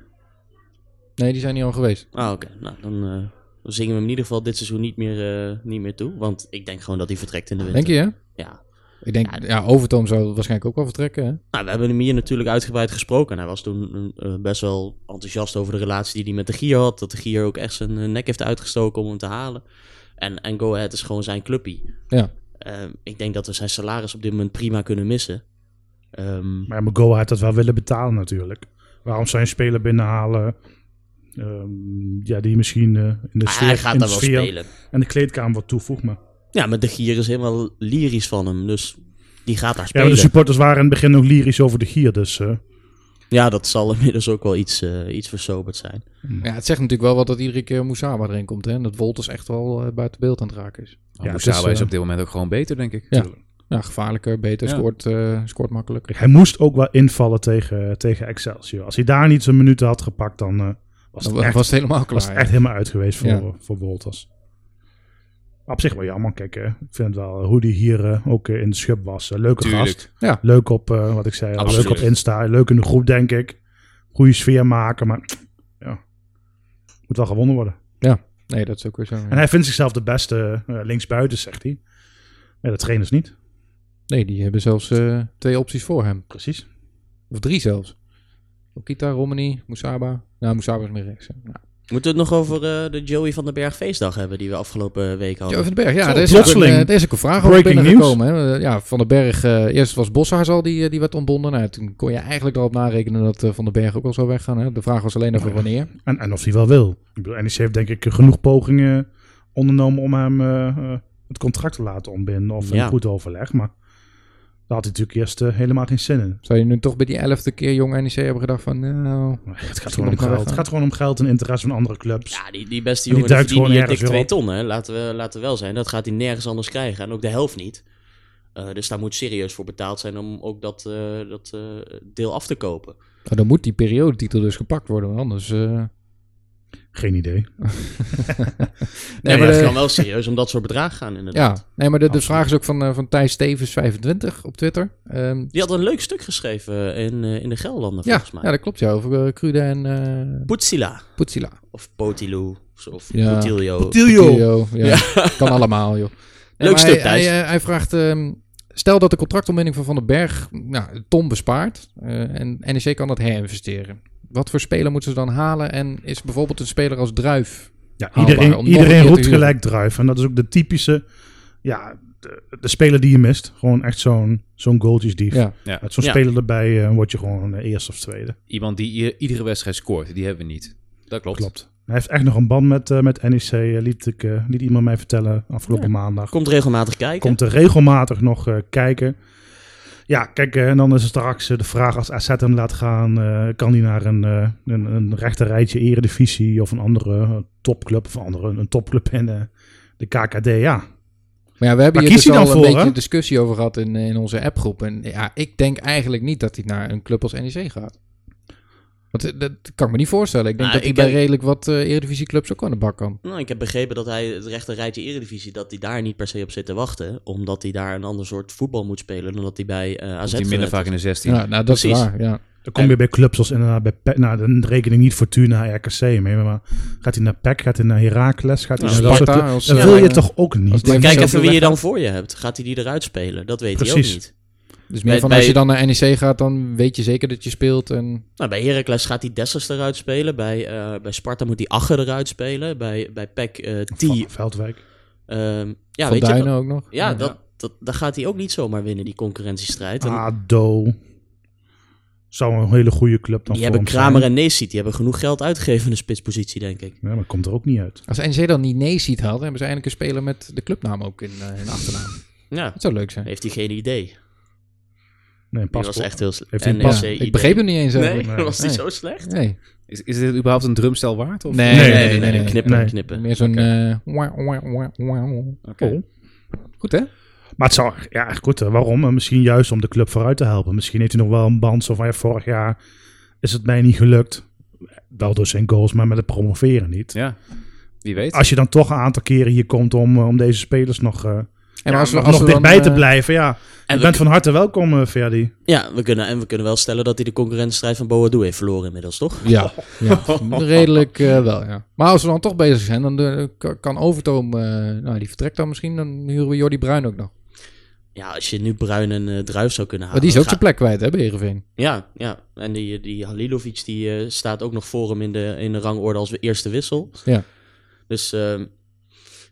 S1: Nee, die zijn niet al geweest.
S4: Ah, oké. Nou, dan eh, dan zingen we hem in ieder geval dit seizoen niet meer, eh, niet meer toe. Want ik denk gewoon dat hij vertrekt in de winter.
S1: Denk je, hè?
S4: Ja.
S1: Ik denk, ja, Overtoom zou waarschijnlijk ook wel vertrekken, hè?
S4: Nou, we hebben hem hier natuurlijk uitgebreid gesproken. En hij was toen eh, best wel enthousiast over de relatie die hij met de Gier had. Dat de Gier ook echt zijn eh, nek heeft uitgestoken om hem te halen. En, en Go Ahead is gewoon zijn clubpie.
S1: Ja.
S4: Ehm, ik denk dat we zijn salaris op dit moment prima kunnen missen. Ehm,
S2: Maar ja, maar Go Ahead had dat wel willen betalen natuurlijk. Waarom zou je een speler binnenhalen ehm, ja, die misschien eh, in de
S4: ah,
S2: sfeer,
S4: hij gaat
S2: in de
S4: daar wel
S2: sfeer
S4: spelen.
S2: en de kleedkamer wat toevoegt. Maar,
S4: Ja, maar de Gier is helemaal lyrisch van hem. Dus die gaat daar
S2: ja, maar
S4: spelen.
S2: de
S4: Ja,
S2: supporters waren in het begin nog lyrisch over de gier. Dus eh,
S4: dat zal inmiddels ook wel iets, eh, iets versoberd zijn.
S1: Ja, het zegt natuurlijk wel wat dat iedere keer Moesaba erin komt, hè? En dat Wolters echt wel eh, buiten beeld aan het raken is.
S5: Ja,
S2: het
S5: Moesaba
S2: is,
S5: is,
S2: eh,
S5: op dit moment ook gewoon beter, denk ik.
S1: Ja. Ja, gevaarlijker, beter,
S5: Ja.
S1: scoort, eh, scoort makkelijker.
S2: hij moest ook wel invallen tegen, tegen Excelsior. Als hij daar niet zijn minuten had gepakt, dan eh, was
S1: Dan
S2: het
S1: was
S2: echt,
S1: het helemaal klaar.
S2: was het echt helemaal uit geweest voor,
S1: Ja.
S2: voor Wolters. Maar op zich wel jammer. Kijk, eh, ik vind het wel hoe die hier eh, ook eh, in de schub was. Eh, leuke gast.
S5: Tuurlijk.
S2: Leuk op, eh, wat ik zei, al, leuk
S5: Absoluut.
S2: op Insta, leuk in de groep, denk ik. Goede sfeer maken, maar ja, moet wel gewonnen worden.
S1: ja. Nee, dat is ook weer zo. ja.
S2: En hij vindt zichzelf de beste eh, linksbuiten, zegt hij. Ja, de trainers niet.
S1: Nee, die hebben zelfs eh, twee opties voor hem.
S2: Precies.
S1: Of drie zelfs. Okita, Romani, Moesaba. Nou, Moesaba is meer rechts. hè. Nou,
S4: Moeten we het nog over eh, de Joey van den Berg feestdag hebben die we afgelopen week
S1: Joe
S4: hadden?
S1: van den Berg, ja,
S2: Zo,
S1: er is, ook een,
S2: plotseling.
S1: eh, er is ook een vraag over
S2: Breaking
S1: binnengekomen. Hè. Eh, Ja, van den Berg, eh, eerst was Boshaars al die, eh, die werd ontbonden. Nou, toen kon je eigenlijk erop narekenen dat eh, Van den Berg ook wel zou weggaan. Hè. De vraag was alleen over wanneer.
S2: En, en of hij wel wil. Ik bedoel, NEC heeft denk ik genoeg pogingen ondernomen om hem eh, eh, het contract te laten ontbinden. Of
S4: Ja.
S2: een goed overleg. Maar daar had hij natuurlijk eerst eh, helemaal geen zin in.
S1: Zou je nu toch bij die elfde keer jong NEC hebben gedacht van... Nou,
S2: Maar Het gaat,
S1: Misschien
S2: gewoon om
S1: moet ik maar
S2: geld.
S1: weggaan.
S2: het gaat gewoon om geld en interesse van andere clubs.
S4: Ja, die, die beste
S2: Die
S4: jongen die
S2: duikt
S4: verdient hier
S2: gewoon
S4: dik
S2: ergens
S4: twee
S2: weer
S4: ton, hè. Laten we, laten we wel zijn. Dat gaat hij nergens anders krijgen. En ook de helft niet. Eh, dus daar moet serieus voor betaald zijn om ook dat, eh, dat eh, deel af te kopen.
S1: nou, dan moet die periodetitel dus gepakt worden, want anders... eh,
S2: Geen idee.
S4: Nee,
S1: maar
S4: maar het
S1: de-
S4: kan wel serieus om dat soort bedragen gaan inderdaad.
S1: ja, nee, maar de, de
S2: Absoluut.
S1: vraag is ook van, eh, van Thijs Stevens 25 op Twitter. Ehm,
S4: Die had een leuk stuk geschreven in, eh, in de Gelderlanden,
S1: ja,
S4: volgens mij.
S1: ja, dat klopt, ja. Over eh Cruda en eh
S4: Putsila.
S1: Putsila.
S4: Of Potilou. of- Of
S1: Ja.
S4: Putilio.
S2: Tiljo!
S1: ja. [LAUGHS] Kan allemaal, joh. Nee,
S4: Leuk
S1: maar
S4: stuk,
S1: hij,
S4: Thijs.
S1: Hij, eh, hij vraagt, ehm, stel dat de contractontbinding van Van den Berg nou, een ton bespaart eh, en NEC kan dat herinvesteren. Wat voor speler moeten ze dan halen? En is bijvoorbeeld een speler als Druif...
S2: Ja,
S1: Haalbaar om nog
S2: iedereen
S1: een keer
S2: iedereen
S1: te
S2: roept
S1: huren.
S2: gelijk druif. En dat is ook de typische... Ja, de, de speler die je mist. Gewoon echt zo'n zo'n goaltjesdief.
S1: Ja,
S2: Met zo'n
S4: Ja.
S2: speler erbij eh, word je gewoon eh, eerste of tweede.
S5: Iemand die i- iedere wedstrijd scoort, die hebben we niet. Dat klopt.
S2: Klopt. Hij heeft echt nog een band met, eh, met NEC, eh, liet, ik, eh, liet iemand mij vertellen afgelopen maandag.
S4: Komt regelmatig kijken.
S2: Komt er regelmatig nog eh, kijken. Ja, kijk, eh, en dan is het straks eh, de vraag als AZ hem laat gaan, eh, kan hij naar een, eh een, een rechter rijtje eredivisie of een andere eh, topclub of andere, een topclub in eh, de KKD. Ja,
S1: maar ja, we hebben
S2: Waar
S1: hier dus
S2: kiest hij
S1: al
S2: dan
S1: een
S2: voor,
S1: beetje
S2: hè?
S1: een discussie over gehad in, eh, in onze appgroep. En ja, ik denk eigenlijk niet dat hij naar een club als NEC gaat. Want eh, dat kan ik me niet voorstellen. Ik denk dat
S4: Nou,
S1: hij
S4: ik
S1: bij
S4: heb-
S1: redelijk wat eh eredivisieclubs ook aan de bak kan.
S4: Nou, ik heb begrepen dat hij het rechter rijtje Eredivisie, dat hij daar niet per se op zit te wachten. Omdat hij daar een ander soort voetbal moet spelen dan dat hij bij eh AZ
S5: Komt hij minder
S4: verwent
S5: vaak in
S4: is.
S5: de 16.
S1: Ja, nou, dat is
S4: Precies.
S1: waar, ja.
S2: dan kom je bij clubs als inderdaad bij PEC. Nou, dan reken ik niet Fortuna, RKC mee, maar gaat hij naar PEC, gaat hij naar Heracles, gaat hij
S1: Nou,
S2: naar dat soort
S1: Sparta,
S2: clubs?
S1: als-
S2: Dan
S4: ja,
S2: wil
S1: eh,
S2: je toch ook
S1: als
S2: niet?
S1: Lev-
S4: Kijk
S1: Zo
S4: even
S1: veel
S4: wie je
S1: weg
S4: dan voor je hebt. Gaat hij die eruit spelen? Dat weet hij
S2: Precies.
S4: ook niet.
S1: Dus meer
S4: Bij-
S1: van
S4: bij-
S1: als je dan naar NEC gaat, dan weet je zeker dat je speelt. En
S4: Nou, bij Heracles gaat hij Dessers eruit spelen. Bij, eh, bij Sparta moet hij Acher eruit spelen. Bij, bij PEC eh T.
S2: Van Veldwijk.
S4: ehm, ja,
S1: Van
S4: weet je,
S1: Duinen
S4: dat-
S1: ook nog.
S4: ja, Dat, dat, daar gaat hij ook niet zomaar winnen, die concurrentiestrijd. En
S2: Ah, ADO. Zou een hele goede club dan
S4: die
S2: voor
S4: hebben
S2: hem
S4: Kramer
S2: zijn.
S4: en Neesiet. Die hebben genoeg geld uitgegeven in de spitspositie, denk ik.
S2: Ja, maar komt er ook niet uit.
S1: Als NEC dan niet nee ziet hadden, hebben ze eindelijk een speler met de clubnaam ook in, eh, in de achternaam.
S4: Ja,
S1: Dat zou leuk zijn.
S4: heeft hij geen idee.
S2: Nee,
S4: Die
S2: pas
S4: was echt heel slecht.
S2: Heeft hij een
S4: NEC
S1: Ja,
S2: pas-
S4: idee.
S1: ik begreep hem niet eens
S4: E Nee,
S1: eigenlijk.
S2: Nee.
S4: [LAUGHS] was die
S1: Nee.
S4: zo slecht?
S1: Nee.
S5: Is, is dit überhaupt een drumstel waard? Of?
S1: Nee, nee, nee, nee, nee.
S4: Knippen,
S2: Nee.
S4: knippen.
S1: Meer zo'n... eh, wauw, wauw, wauw, wauw.
S5: Oké.
S2: Oh.
S1: Goed hè?
S2: Maar het zou, ja, echt goed. hè. Waarom? En Misschien juist om de club vooruit te helpen. Misschien heeft hij nog wel een band. Zo van, ja, vorig jaar is het mij niet gelukt. Wel door zijn goals, maar met het promoveren niet.
S5: Ja, wie weet.
S2: Als je dan toch een aantal keren hier komt om, eh, om deze spelers nog, eh
S1: En
S2: ja,
S1: als we-
S2: nog
S1: als we dan,
S2: dichtbij te
S1: eh,
S2: blijven, ja.
S4: En
S2: Je
S4: we,
S2: bent van harte welkom, eh, Verdi.
S4: ja, we kunnen, en we kunnen wel stellen dat hij de concurrentstrijd van Boadu heeft verloren inmiddels, toch?
S1: Ja, ja. redelijk eh, wel ja. Maar als we dan toch bezig zijn, dan eh, k- kan Overtoom... eh, nou, die vertrekt dan misschien. Dan huren we Jordi Bruin ook nog.
S4: Ja, als je nu Bruin en eh, Druif zou kunnen
S1: Maar die
S4: halen.
S1: is ook
S4: ga-
S1: zijn plek kwijt hè, bij Heerenveen.
S4: Ja, ja. En die, eh, die Halilovic die, eh, staat ook nog voor hem in de, in de rangorde als we eerste wissel.
S1: Ja.
S4: Dus ehm,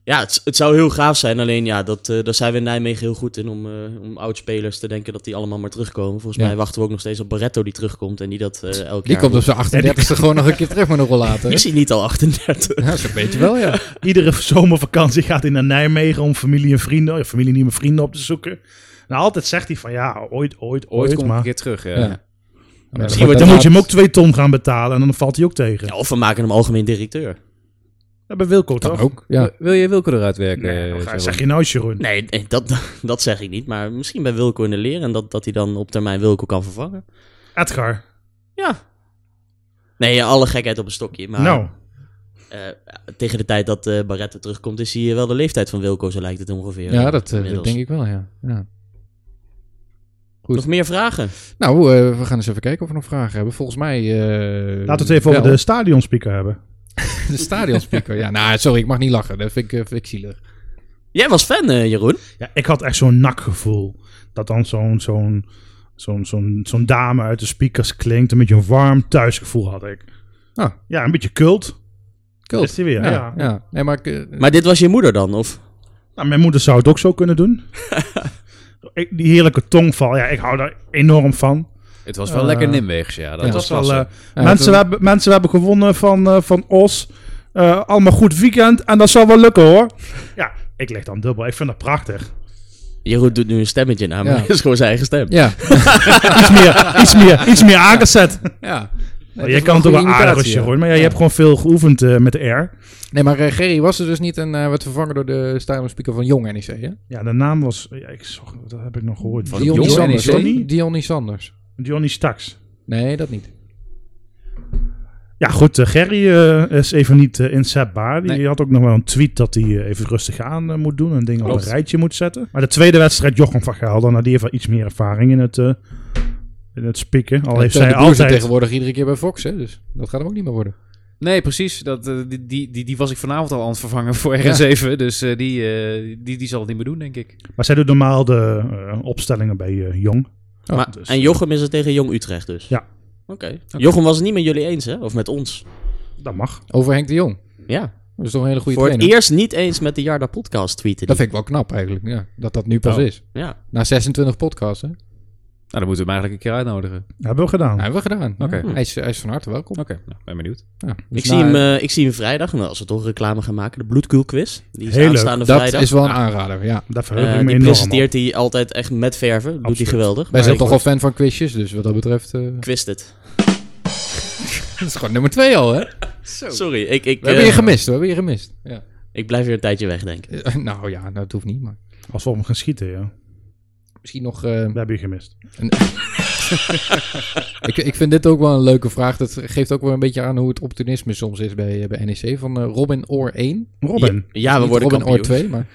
S4: ja, het, het zou heel gaaf zijn. Alleen ja, dat, eh, daar zijn we in Nijmegen heel goed in om, eh, om oud-spelers te denken dat die allemaal maar terugkomen. Volgens
S1: Ja.
S4: mij wachten we ook nog steeds op Barretto die terugkomt en die dat eh elk
S1: Die
S4: jaar...
S1: komt op zijn 38e gewoon nog een keer terug met een rollator. hè?
S4: Ik zie niet al 38.
S1: Ja, zo'n beetje wel ja.
S2: Iedere [LAUGHS] zomervakantie gaat hij naar Nijmegen om familie en vrienden, ja, familie niet meer vrienden op te zoeken. Nou, altijd zegt hij van ja, ooit, ooit,
S5: Ooit
S2: ooit.
S5: kom ik
S2: maar
S5: een keer terug. eh.
S1: Ja.
S2: dan,
S1: wordt
S2: dan
S1: dat-
S2: moet je hem ook twee ton gaan betalen en dan valt hij ook tegen.
S4: Ja, of we maken hem algemeen directeur.
S2: Ja, bij Wilco
S1: Kan
S2: toch?
S1: ook, ja.
S5: Wil- Wil je Wilco eruit werken?
S2: Nee,
S5: eh,
S2: dan ga-
S5: Sharon?
S2: zeg je nou Jeroen.
S4: Nee, nee, dat, [LAUGHS] dat zeg ik niet. Maar misschien bij Wilco in de leer en dat, dat hij dan op termijn Wilco kan vervangen.
S2: Edgar.
S4: Ja. Nee, alle gekheid op een stokje. Maar
S2: nou,
S4: eh, tegen de tijd dat eh Barretto terugkomt, is hij eh, wel de leeftijd van Wilco, zo lijkt het ongeveer.
S1: Ja,
S4: eh,
S1: dat eh,
S4: inmiddels.
S1: denk ik wel, ja. ja. goed.
S4: Nog meer vragen?
S1: Nou, eh, we gaan eens even kijken of we nog vragen hebben. Volgens mij... eh,
S2: laten we het even over
S1: wel.
S2: de stadionspeaker hebben.
S1: [LAUGHS] de stadionspeaker. ja, nou, sorry, ik mag niet lachen. Dat vind ik, eh, vind ik zielig.
S4: Jij was fan, eh, Jeroen.
S2: Ja, ik had echt zo'n nakgevoel. Dat dan zo'n zo'n zo'n zo'n zo'n dame uit de speakers klinkt. Een beetje een warm thuisgevoel had ik.
S1: Ah.
S2: Ja, een beetje kult.
S1: Cool.
S2: Is hij weer, ja.
S1: ja. Nee, maar, ik, eh,
S4: Maar dit was je moeder dan? Of?
S2: Nou, mijn moeder zou het ook zo kunnen doen. Ik- Die heerlijke tongval, ja, ik hou daar enorm van.
S5: Het was wel
S2: Eh,
S5: lekker Nimweegs, ja. Dat
S2: Het
S5: was
S2: was wel,
S5: klasse.
S1: ja,
S2: eh, mensen,
S1: toen-
S2: hebben, mensen hebben gewonnen van, eh, van Os. Eh, allemaal goed weekend en dat zal wel lukken hoor. Ja, ik leg dan dubbel. Ik vind dat prachtig.
S4: Jeroen doet nu een stemmetje na, maar [LAUGHS]
S1: Ja.
S4: het is gewoon zijn eigen stem.
S1: Ja.
S2: [LAUGHS] Iets meer, iets meer, iets meer aangezet.
S1: ja.
S2: Maar Oh, jij kan het ook wel aardig als Jeroen, maar ja, je hebt gewoon veel geoefend eh, met de R.
S1: Nee, maar eh, Gerry was er dus niet en eh, werd vervangen door de stadium speaker van Jong NEC. Hè?
S2: Ja, de naam was, ja, ik zag, dat heb ik nog gehoord.
S5: Van
S1: Dionny
S5: Jong
S1: Sanders.
S5: NEC?
S2: E
S1: Johnny? Dionny Sanders.
S2: Johnny Staks.
S1: Nee, dat niet.
S2: Ja, goed. eh, Gerry eh, is even niet eh, inzetbaar. Die
S5: Nee.
S2: had ook nog wel een tweet dat hij eh, even rustig aan eh, moet doen. En dingen op
S5: Klopt.
S2: een rijtje moet zetten. Maar de tweede wedstrijd, Jochem van Gaal, dan had die even iets meer ervaring in het, eh, in het spieken. Al
S1: En
S2: heeft
S1: Teun
S2: zij
S1: de Boer zit
S2: altijd.
S1: tegenwoordig iedere keer bij Fox, hè? Dus dat gaat hem ook niet meer worden.
S5: Nee, precies. Dat, eh, die, die, die, die was ik vanavond al aan het vervangen voor RN7. Dus eh, die, eh, die, die zal het niet meer doen, denk ik. Nou,
S2: Maar zij doet normaal de eh, opstellingen bij eh, Jong.
S1: Oh,
S4: maar,
S2: dus-
S4: en Jochem is het tegen Jong Utrecht dus?
S2: Ja.
S4: Oké. Jochem was het niet met jullie eens, hè? Of met ons?
S2: Dat mag.
S1: Over Henk de Jong.
S4: Ja.
S1: Dat is toch een hele goede
S4: Voor
S1: trainer.
S4: het eerst niet eens met de Jarda podcast tweeten.
S1: Dat
S4: die.
S1: vind ik wel knap eigenlijk, ja. Dat dat nu pas
S2: Oh.
S1: is.
S4: Ja.
S1: Na 26 podcasts, hè? Nou,
S5: Nou, dan moeten we hem eigenlijk een keer uitnodigen.
S2: Dat hebben we gedaan.
S1: hebben we gedaan.
S5: Oké.
S1: Ja. Hij, is, hij is van harte welkom.
S5: Oké, nou, ben benieuwd.
S1: Ja, dus
S4: Ik,
S1: na-
S4: zie hem, eh, ik zie hem vrijdag, nou, als we toch reclame gaan maken, de bloedkuilquiz. Die is
S2: Heel leuk.
S4: aanstaande
S1: dat
S4: vrijdag.
S1: is wel een aanrader, ja.
S2: Daar verheug
S4: Eh,
S2: ik me
S4: die
S2: enorm op.
S4: presenteert hij altijd echt met verven. Dat doet hij
S2: Absoluut.
S4: geweldig.
S1: Wij zijn
S2: ik
S1: toch al
S2: word-
S1: fan van quizjes, dus wat dat betreft...
S4: [LAUGHS]
S1: eh,
S4: Quist het.
S1: dat is gewoon nummer twee al, hè?
S4: Sorry, ik, ik,
S1: We hebben je
S4: eh,
S1: gemist, we hebben je gemist. Ja.
S4: ik blijf weer een tijdje weg, denk ik.
S1: Eh, [LAUGHS] nou ja, nou, dat hoeft niet, maar...
S2: Als we op hem gaan schieten, ja.
S1: Misschien nog... eh,
S2: [LAUGHS] Dat heb je gemist.
S1: ik, ik vind dit ook wel een leuke vraag. Dat geeft ook wel een beetje aan hoe het opportunisme soms is bij, eh, bij NEC. Van eh, Robin Oor 1.
S2: Robin.
S4: Ja, we
S1: Niet
S4: worden
S1: Robin
S4: kampioen.
S1: Oor 2,
S4: [LAUGHS]
S1: maar...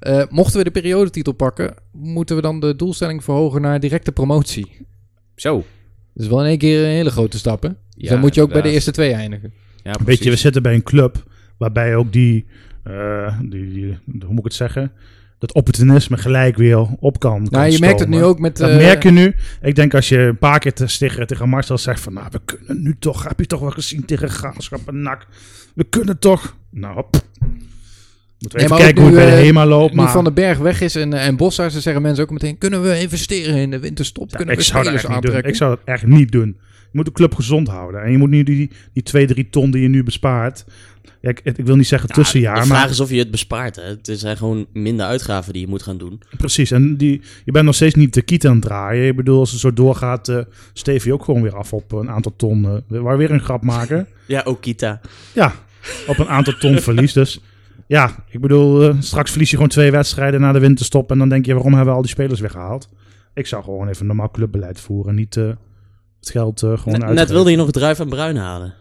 S1: eh, mochten we de periodetitel pakken, moeten we dan de doelstelling verhogen naar directe promotie.
S5: Zo. Dat
S1: Dat is wel in één keer een hele grote stap, hè? Dus dan moet je ook bij de eerste twee eindigen.
S5: Ja,
S2: Weet je, we
S5: precies.
S2: zitten bij een club waarbij ook die, eh, die, die- hoe moet ik het zeggen, dat opportunisme gelijk weer op kan. kan
S1: Nou, je merkt het
S2: stomen.
S1: nu ook met...
S2: Dat
S1: eh,
S2: merk je nu. Ik denk als je een paar keer te- tegen, tegen Marcel zegt van... Nou, we kunnen nu toch... Heb je toch wel gezien tegen Graafschap en NAC? We kunnen toch... Nou, hop. Moeten
S1: Nee,
S2: we even
S1: maar ook
S2: kijken hoe het
S1: nu,
S2: bij de
S1: eh,
S2: HEMA loopt.
S1: Nu
S2: Maar
S1: Van de Berg weg is en, eh, en Bossaars, dan zeggen mensen ook meteen... Kunnen we investeren in de winterstop?
S2: Ja,
S1: Kunnen
S2: ik
S1: we
S2: zou dat
S1: spelers
S2: echt niet doen.
S1: aantrekken?
S2: Ik zou dat echt niet doen. Je moet de club gezond houden. En je moet nu die, die twee, drie ton die je nu bespaart... Ja, ik, ik wil niet zeggen
S4: Ja,
S2: tussenjaar,
S4: de
S2: maar...
S4: vraag is of je het bespaart. Hè. Het zijn gewoon minder uitgaven die je moet gaan doen.
S2: Precies, en die, je bent nog steeds niet de kiet aan het draaien. Ik bedoel, als het zo doorgaat, eh steef je ook gewoon weer af op een aantal ton. eh, we waar weer een grap
S1: [LAUGHS]
S2: maken.
S4: Ja, ook Kita.
S2: ja, op een aantal ton verlies. Dus ja, ik bedoel, eh, straks verlies je gewoon twee wedstrijden na de winterstop. En dan denk je, waarom hebben we al die spelers weggehaald? Ik zou gewoon even normaal clubbeleid voeren. Niet eh, het geld eh, gewoon
S4: Net,
S2: uit.
S4: net wilde je nog Druif en Bruin halen.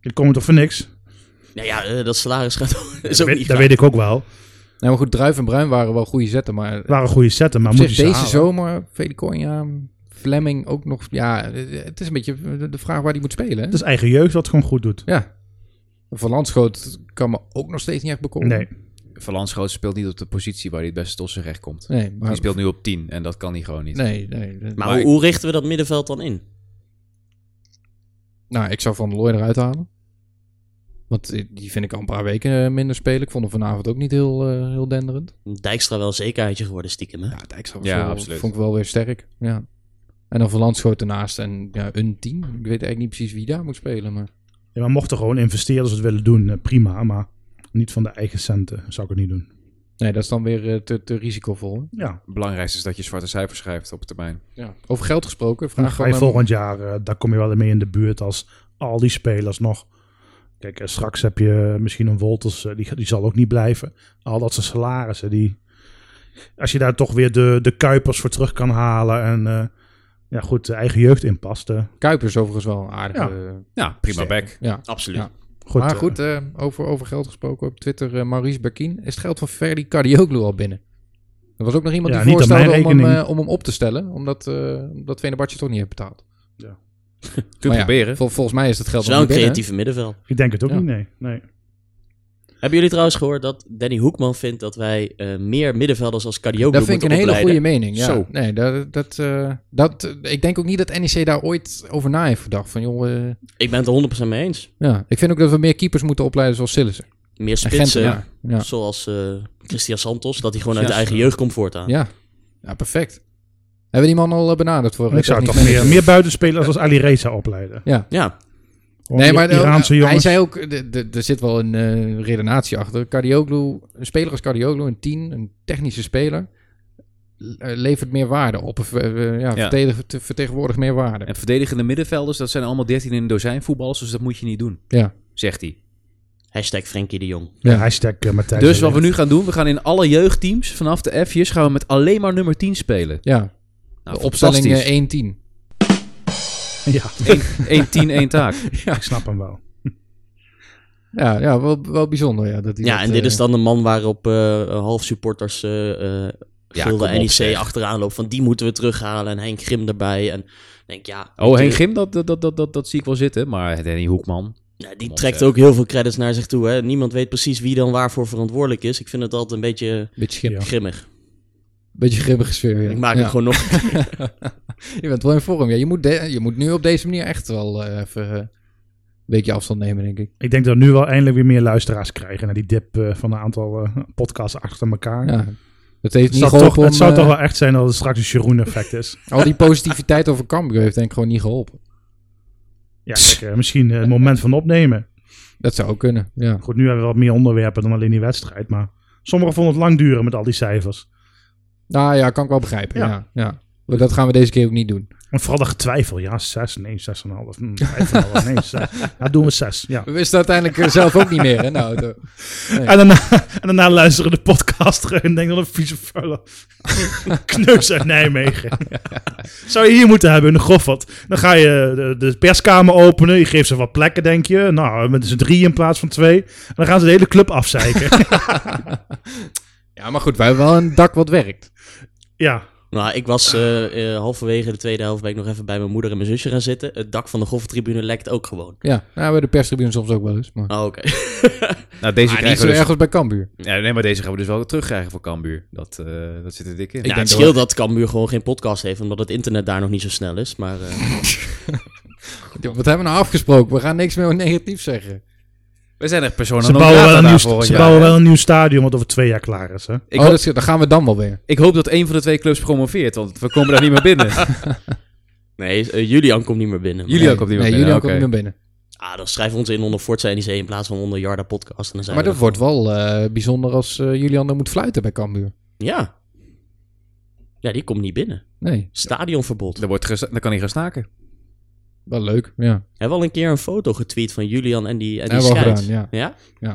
S2: Ik kom er toch voor niks?
S4: Nou ja, eh, dat salaris gaat [LAUGHS] is
S2: Dat weet,
S4: ook niet
S2: dat
S4: graag.
S2: weet ik ook wel.
S1: Nou, maar goed, Druif en Bruin waren wel goede zetten, maar...
S2: Het waren goede zetten, maar
S1: op
S2: moet je
S1: zich
S2: ze
S1: deze
S2: halen?
S1: zomer, Velikojna, Flemming ook nog... Ja, eh, het is een beetje de- de vraag waar die moet spelen, hè?
S2: Het is eigen jeugd wat het gewoon goed doet.
S1: Ja. Van Landschoot kan me ook nog steeds niet echt bekomen.
S2: Nee,
S5: Van Lanschoten speelt niet op de positie waar hij het beste tot zijn recht komt.
S1: Nee, maar...
S5: Hij speelt nu op 10 en dat kan hij gewoon niet.
S1: Nee, nee. dat-
S4: Maar, hoe, hoe richten we dat middenveld dan in?
S1: Nou, ik zou Van der Looy eruit halen. Want eh, die vind ik al een paar weken eh, minder spelen. Ik vond hem vanavond ook niet heel, eh, heel denderend.
S4: Dijkstra wel een zekerheidje geworden, stiekem. Hè?
S1: Ja, Dijkstra
S5: Ja,
S1: wel-
S5: absoluut.
S1: vond ik wel weer sterk. Ja. En dan Van Landschoot ernaast en ja, een team. Ik weet eigenlijk niet precies wie daar moet spelen. Maar...
S2: Ja, maar mochten gewoon investeerders het willen doen, eh, prima. Maar niet van de eigen centen zou ik het niet doen.
S1: Nee, dat is dan weer eh, te, te risicovol. hè?
S2: Ja,
S5: Het belangrijkste is dat je zwarte cijfers schrijft op termijn.
S1: Over geld gesproken.
S2: dan
S1: Vraag
S2: ga
S1: van ehm,
S2: je
S1: hem-
S2: volgend jaar, eh, daar kom je wel mee in de buurt als al die spelers nog. Kijk, eh, straks heb je misschien een Wolters, eh, die, die zal ook niet blijven. Al dat zijn salarissen, die... Als je daar toch weer de, de Kuipers voor terug kan halen en... eh, ja goed, de eigen jeugd inpast. eh.
S1: Kuipers overigens wel een aardige...
S5: Ja, prima
S2: Sterk.
S5: back.
S1: ja.
S4: Absoluut.
S1: Ja.
S2: Goed,
S1: maar
S2: eh,
S1: goed, eh, over, over geld gesproken op Twitter, eh, Maurice Berkien. Is het geld van Ferdi Cardioglu al binnen? Er was ook nog iemand
S2: Ja,
S1: die
S2: niet aan mijn
S1: voorstelde om hem,
S2: rekening.
S1: eh, om hem op te stellen, omdat, eh omdat Venerbahce toch niet heeft betaald.
S5: Kun je
S1: Maar ja,
S5: proberen.
S1: vol- volgens mij is dat
S4: Het
S1: geld
S4: is
S1: nog
S4: wel een
S1: niet binnen.
S4: creatieve middenveld.
S2: ik denk het ook
S1: Ja.
S2: niet, nee. nee.
S4: Hebben jullie trouwens gehoord dat Danny Hoekman vindt dat wij eh, meer middenvelders als Kadioglu
S1: Dat
S4: moeten
S1: vind ik een hele goede
S4: opleiden?
S1: mening. Ja.
S5: Zo.
S1: Nee, dat, dat, eh, dat, eh, ik denk ook niet dat NEC daar ooit over na heeft gedacht. Van, joh, eh,
S4: Ik ben het er 100% mee eens.
S1: ja. Ik vind ook dat we meer keepers moeten opleiden zoals Sillissen.
S4: Meer
S1: En
S4: spitsen,
S1: Gentenaar. Ja.
S4: zoals eh, Christian Santos, dat hij gewoon
S5: Ja,
S4: uit de eigen
S5: zo.
S4: jeugd komt voortaan.
S1: Ja. ja, perfect. Hebben we die man al eh, benaderd voor?
S2: Ik zou
S1: technisch
S2: toch meer,
S1: manager?
S2: meer buitenspelers als Ali Reza opleiden.
S4: Ja,
S2: Gewoon
S1: Nee,
S2: die
S1: maar de-
S2: Iraanse
S1: hij
S2: jongens.
S1: zei ook, de- de- er zit wel een eh, redenatie achter. Cardioglu, een speler als Cardioglu, een 10, een technische speler, eh, levert meer waarde op. Of, eh, eh, ja,
S5: Ja.
S1: verdedig- te- vertegenwoordigt meer waarde.
S5: En verdedigende middenvelders, dat zijn allemaal 13 in een dozijn voetballers, dus dat moet je niet doen.
S1: Ja.
S5: Zegt hij.
S4: hashtag Frenkie de Jong.
S2: Ja, hashtag eh, Matthijs.
S5: Dus wat
S2: Wellicht.
S5: we nu gaan doen, we gaan in alle jeugdteams vanaf de F'jes gaan we met alleen maar nummer 10 spelen.
S1: Ja,
S5: Nou,
S1: de opstelling eh,
S5: fantastisch.
S1: 1-10.
S2: [LAUGHS] Ja,
S5: 1 10
S1: [LAUGHS]
S5: 1 taak.
S2: ik snap hem wel.
S1: Ja, ja wel, wel bijzonder. Ja, dat hij
S4: Ja,
S1: dat,
S4: en dit
S1: eh,
S4: is dan de man waarop eh, half supporters eh eh
S5: Ja,
S4: Gilde
S5: kom op,
S4: NEC
S5: zeg.
S4: achteraan loopt. Van die moeten we terughalen en Henk Grim erbij. En ik denk ja,
S5: Oh, Henk
S4: die-
S5: Grim, dat, dat, dat, dat, dat zie ik wel zitten. Maar Danny Hoekman.
S4: nou, die
S5: op,
S4: trekt
S5: zeg.
S4: ook heel veel credits naar zich toe. Hè. Niemand weet precies wie dan waarvoor verantwoordelijk is. Ik vind het altijd een beetje
S1: Beetje, grim,
S2: Ja.
S4: grimmig.
S1: beetje grimmige sfeer. Ja.
S4: Ik maak
S1: Ja.
S4: het gewoon nog [LAUGHS]
S1: Je bent wel in vorm. Ja, je, moet de- je moet nu op deze manier echt wel eh, even eh, een weekje afstand nemen, denk ik.
S2: Ik denk dat we nu wel eindelijk weer meer luisteraars krijgen. Na die dip eh, van een aantal eh, podcasts achter elkaar.
S1: Ja. Het heeft
S2: Het,
S1: niet
S2: zou
S1: geholpen
S2: toch, het
S1: om,
S2: zou toch
S1: eh,
S2: wel echt zijn dat het straks een Jeroen-effect is.
S1: al die positiviteit over Cambuur heeft denk ik gewoon niet geholpen.
S2: Ja, kijk, eh, misschien eh, het moment van opnemen.
S1: Dat zou ook kunnen, ja.
S2: Goed, nu hebben we wat meer onderwerpen dan alleen die wedstrijd. Maar sommigen vonden het lang duren met al die cijfers.
S1: Nou ja, kan ik wel begrijpen, ja.
S2: Ja.
S1: ja, Maar dat gaan we deze keer ook niet doen.
S2: En vooral dat getwijfel. Ja, zes. Nee, zes en een half. Hm, vijf en een half.
S1: [LAUGHS]
S2: Nee, zes. Ja, doen we zes. Ja.
S1: We wisten uiteindelijk eh, zelf ook niet meer, hè, nou, de-
S2: En daarna, [LAUGHS] en daarna luisteren de podcast terug en denk dat een vieze vuile [LAUGHS] kneus uit Nijmegen.
S1: [LAUGHS]
S2: Zou je hier moeten hebben in de Goffert. Dan ga je de, de perskamer openen, je geeft ze wat plekken, denk je. Nou, met z'n drie in plaats van twee. En dan gaan ze de hele club
S1: [LAUGHS]
S2: afzeiken.
S1: Ja, maar goed, wij hebben wel een dak wat werkt.
S2: ja,
S4: Nou, ik was eh, eh, halverwege de tweede helft ben ik nog even bij mijn moeder en mijn zusje gaan zitten. Het dak van de golftribune lekt ook gewoon.
S1: Ja, nou, bij de perstribune soms ook wel eens. Maar,
S4: Oh, oké.
S5: Nou, deze
S1: maar niet
S5: krijgen
S1: zo
S5: we dus,
S1: erg als bij Cambuur.
S5: ja, nee, maar deze gaan we dus wel terugkrijgen voor Cambuur. Dat, eh, dat zit er dik in.
S4: Ja,
S1: denk dat
S4: het scheelt dat Cambuur gewoon geen podcast heeft, omdat het internet daar nog niet zo snel is. Maar eh,
S1: Joh, Wat hebben we nou afgesproken? We gaan niks meer negatief zeggen.
S5: We zijn echt personen
S2: ze bouwen, wel een, nieuw, sta- ze bouwen wel een nieuw stadion wat over twee jaar klaar is. Hè?
S5: Ik,
S1: oh,
S5: hoop,
S1: dat, is- dan gaan we dan wel weer.
S5: ik hoop dat een van de twee clubs promoveert, want we komen daar niet meer
S2: [LAUGHS]
S5: binnen.
S4: nee, eh, Julian komt niet meer binnen. Maar-
S5: Jullie
S1: Nee,
S5: ook opnieuw
S1: Nee,
S5: binnen,
S1: jullie ook
S5: oké.
S1: opnieuw binnen.
S4: Ah, dan schrijven we ons in onder Forza NEC in plaats van onder Jarda Podcast. En dan zijn
S1: Maar
S4: we
S1: dat wordt wel eh, bijzonder als eh, Julian dan moet fluiten bij Cambuur.
S4: er- Ja. Ja, die komt niet binnen.
S1: Nee,
S4: Stadionverbod.
S5: dan, wordt gesta- dan kan hij gaan snaken.
S1: wel leuk. Ja,
S4: Hebben we al een keer een foto getweet van Julian en die, en die
S1: hebben we al
S4: scheids?
S1: gedaan. Ja.
S4: Ja?
S1: Ja.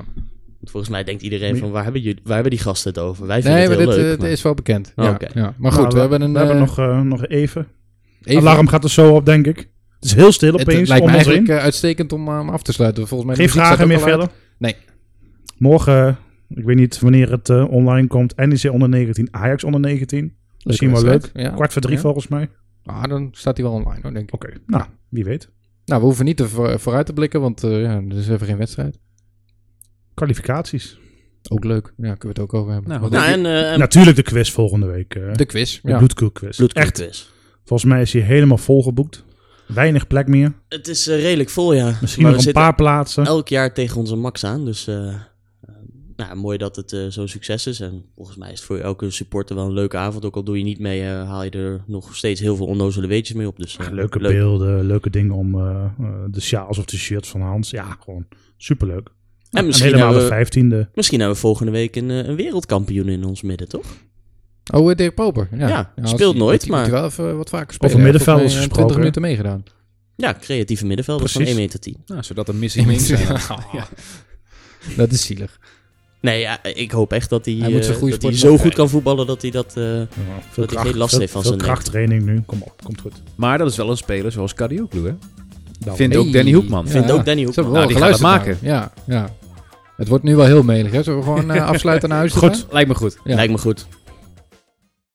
S4: Want volgens mij denkt iedereen van, waar hebben, jullie, waar hebben die gasten het over? Wij vinden
S1: Nee, maar
S4: het
S1: dit,
S4: heel leuk.
S1: eh, dit
S4: maar-
S1: is wel bekend.
S4: Oh,
S1: ja,
S4: oké.
S1: ja. Maar goed,
S2: Nou,
S1: we, hebben een...
S2: We hebben
S1: eh,
S2: nog, eh, nog even.
S1: even-
S2: Alarm gaat er zo op, denk ik. Het is heel stil
S1: Het,
S2: opeens.
S1: het lijkt
S2: om
S1: me
S2: ons heen.
S1: eigenlijk eh, uitstekend om eh, hem af te sluiten. Volgens mij de
S2: Geen
S1: muziek staat
S2: vragen
S1: ook
S2: meer
S1: al uit.
S2: verder?
S1: Nee.
S2: Morgen, eh, ik weet niet wanneer het eh, online komt, NEC onder 19, Ajax onder 19. Misschien wel leuk.
S1: wedstrijd, ja.
S2: Kwart voor drie
S1: Ja.
S2: volgens mij. Oké,
S1: Ah, dan staat hij wel online hoor, denk ik.
S2: nou, wie weet.
S1: Nou, we hoeven niet te voor- vooruit te blikken, want eh, ja, er is even geen wedstrijd.
S2: Kwalificaties.
S1: Ook leuk. Ja, kunnen we het ook over hebben.
S5: Nou,
S4: Nou, en, eh, en
S2: Natuurlijk de quiz volgende week. eh,
S1: de quiz.
S2: de
S1: Ja.
S2: bloedkoek quiz.
S4: bloedclub
S2: Echt,
S4: is.
S2: volgens mij is hij helemaal volgeboekt. Weinig plek meer.
S4: Het is eh, redelijk vol, ja.
S2: Misschien
S4: maar
S2: nog
S4: we
S2: een
S4: zitten Oh,
S2: paar plaatsen.
S4: elk jaar tegen onze max aan. Dus eh, eh, nou, mooi dat het eh, zo'n succes is. En volgens mij is het voor elke supporter wel een leuke avond. Ook al doe je niet mee, eh, haal je er nog steeds heel veel onnozele weetjes mee op. Dus, eh,
S2: Leuke
S4: leuk.
S2: beelden, leuke dingen om eh, eh, de sjaals of de shirts van Hans. Ja, gewoon superleuk.
S4: En
S2: En
S4: misschien
S2: helemaal
S4: hebben,
S2: de
S4: we,
S2: vijftiende.
S4: misschien hebben we volgende week een, eh, een wereldkampioen in ons midden, toch?
S1: Oh, eh, Dirk Poper. Ja,
S4: Ja,
S1: als-
S4: speelt nooit,
S1: moet hij-
S4: maar-
S1: moet hij wel even wat vaker spelen.
S2: Over
S1: Hij
S2: middenvelders
S1: heeft volgens mij, eh, 20 minuten
S2: gesproken,
S1: meegedaan.
S4: Ja, creatieve middenvelder van
S2: Precies.
S4: 1 meter 10.
S5: Nou, zodat er
S2: [LAUGHS]
S5: missing links zijn.
S1: Ja. Dat is zielig.
S4: Nee, ja, ik hoop echt dat hij,
S1: Hij moet
S4: eh,
S1: zijn goede
S4: dat hij
S1: sport
S4: zo
S1: nog-
S4: goed kan voetballen dat hij dat... eh,
S2: Ja, veel
S4: Dat hij geen last
S2: veel-
S4: heeft van
S2: veel
S4: zijn nek.
S2: krachttraining nu. Kom op, komt goed.
S5: Maar dat is wel een speler zoals Kadioglu, hè?
S1: Dan.
S5: Vindt ook Danny Hoekman.
S4: vindt
S1: Nou, Ja.
S4: ook Danny Hoekman.
S5: Nou, die gaat het
S1: geluisterd
S2: [LAUGHS]
S1: naar. Ja, ja. Het wordt nu wel heel melig, hè? Zullen we gewoon eh, afsluiten naar huis? te gaan?
S5: Lijkt me goed.
S1: Ja.
S4: Lijkt me goed.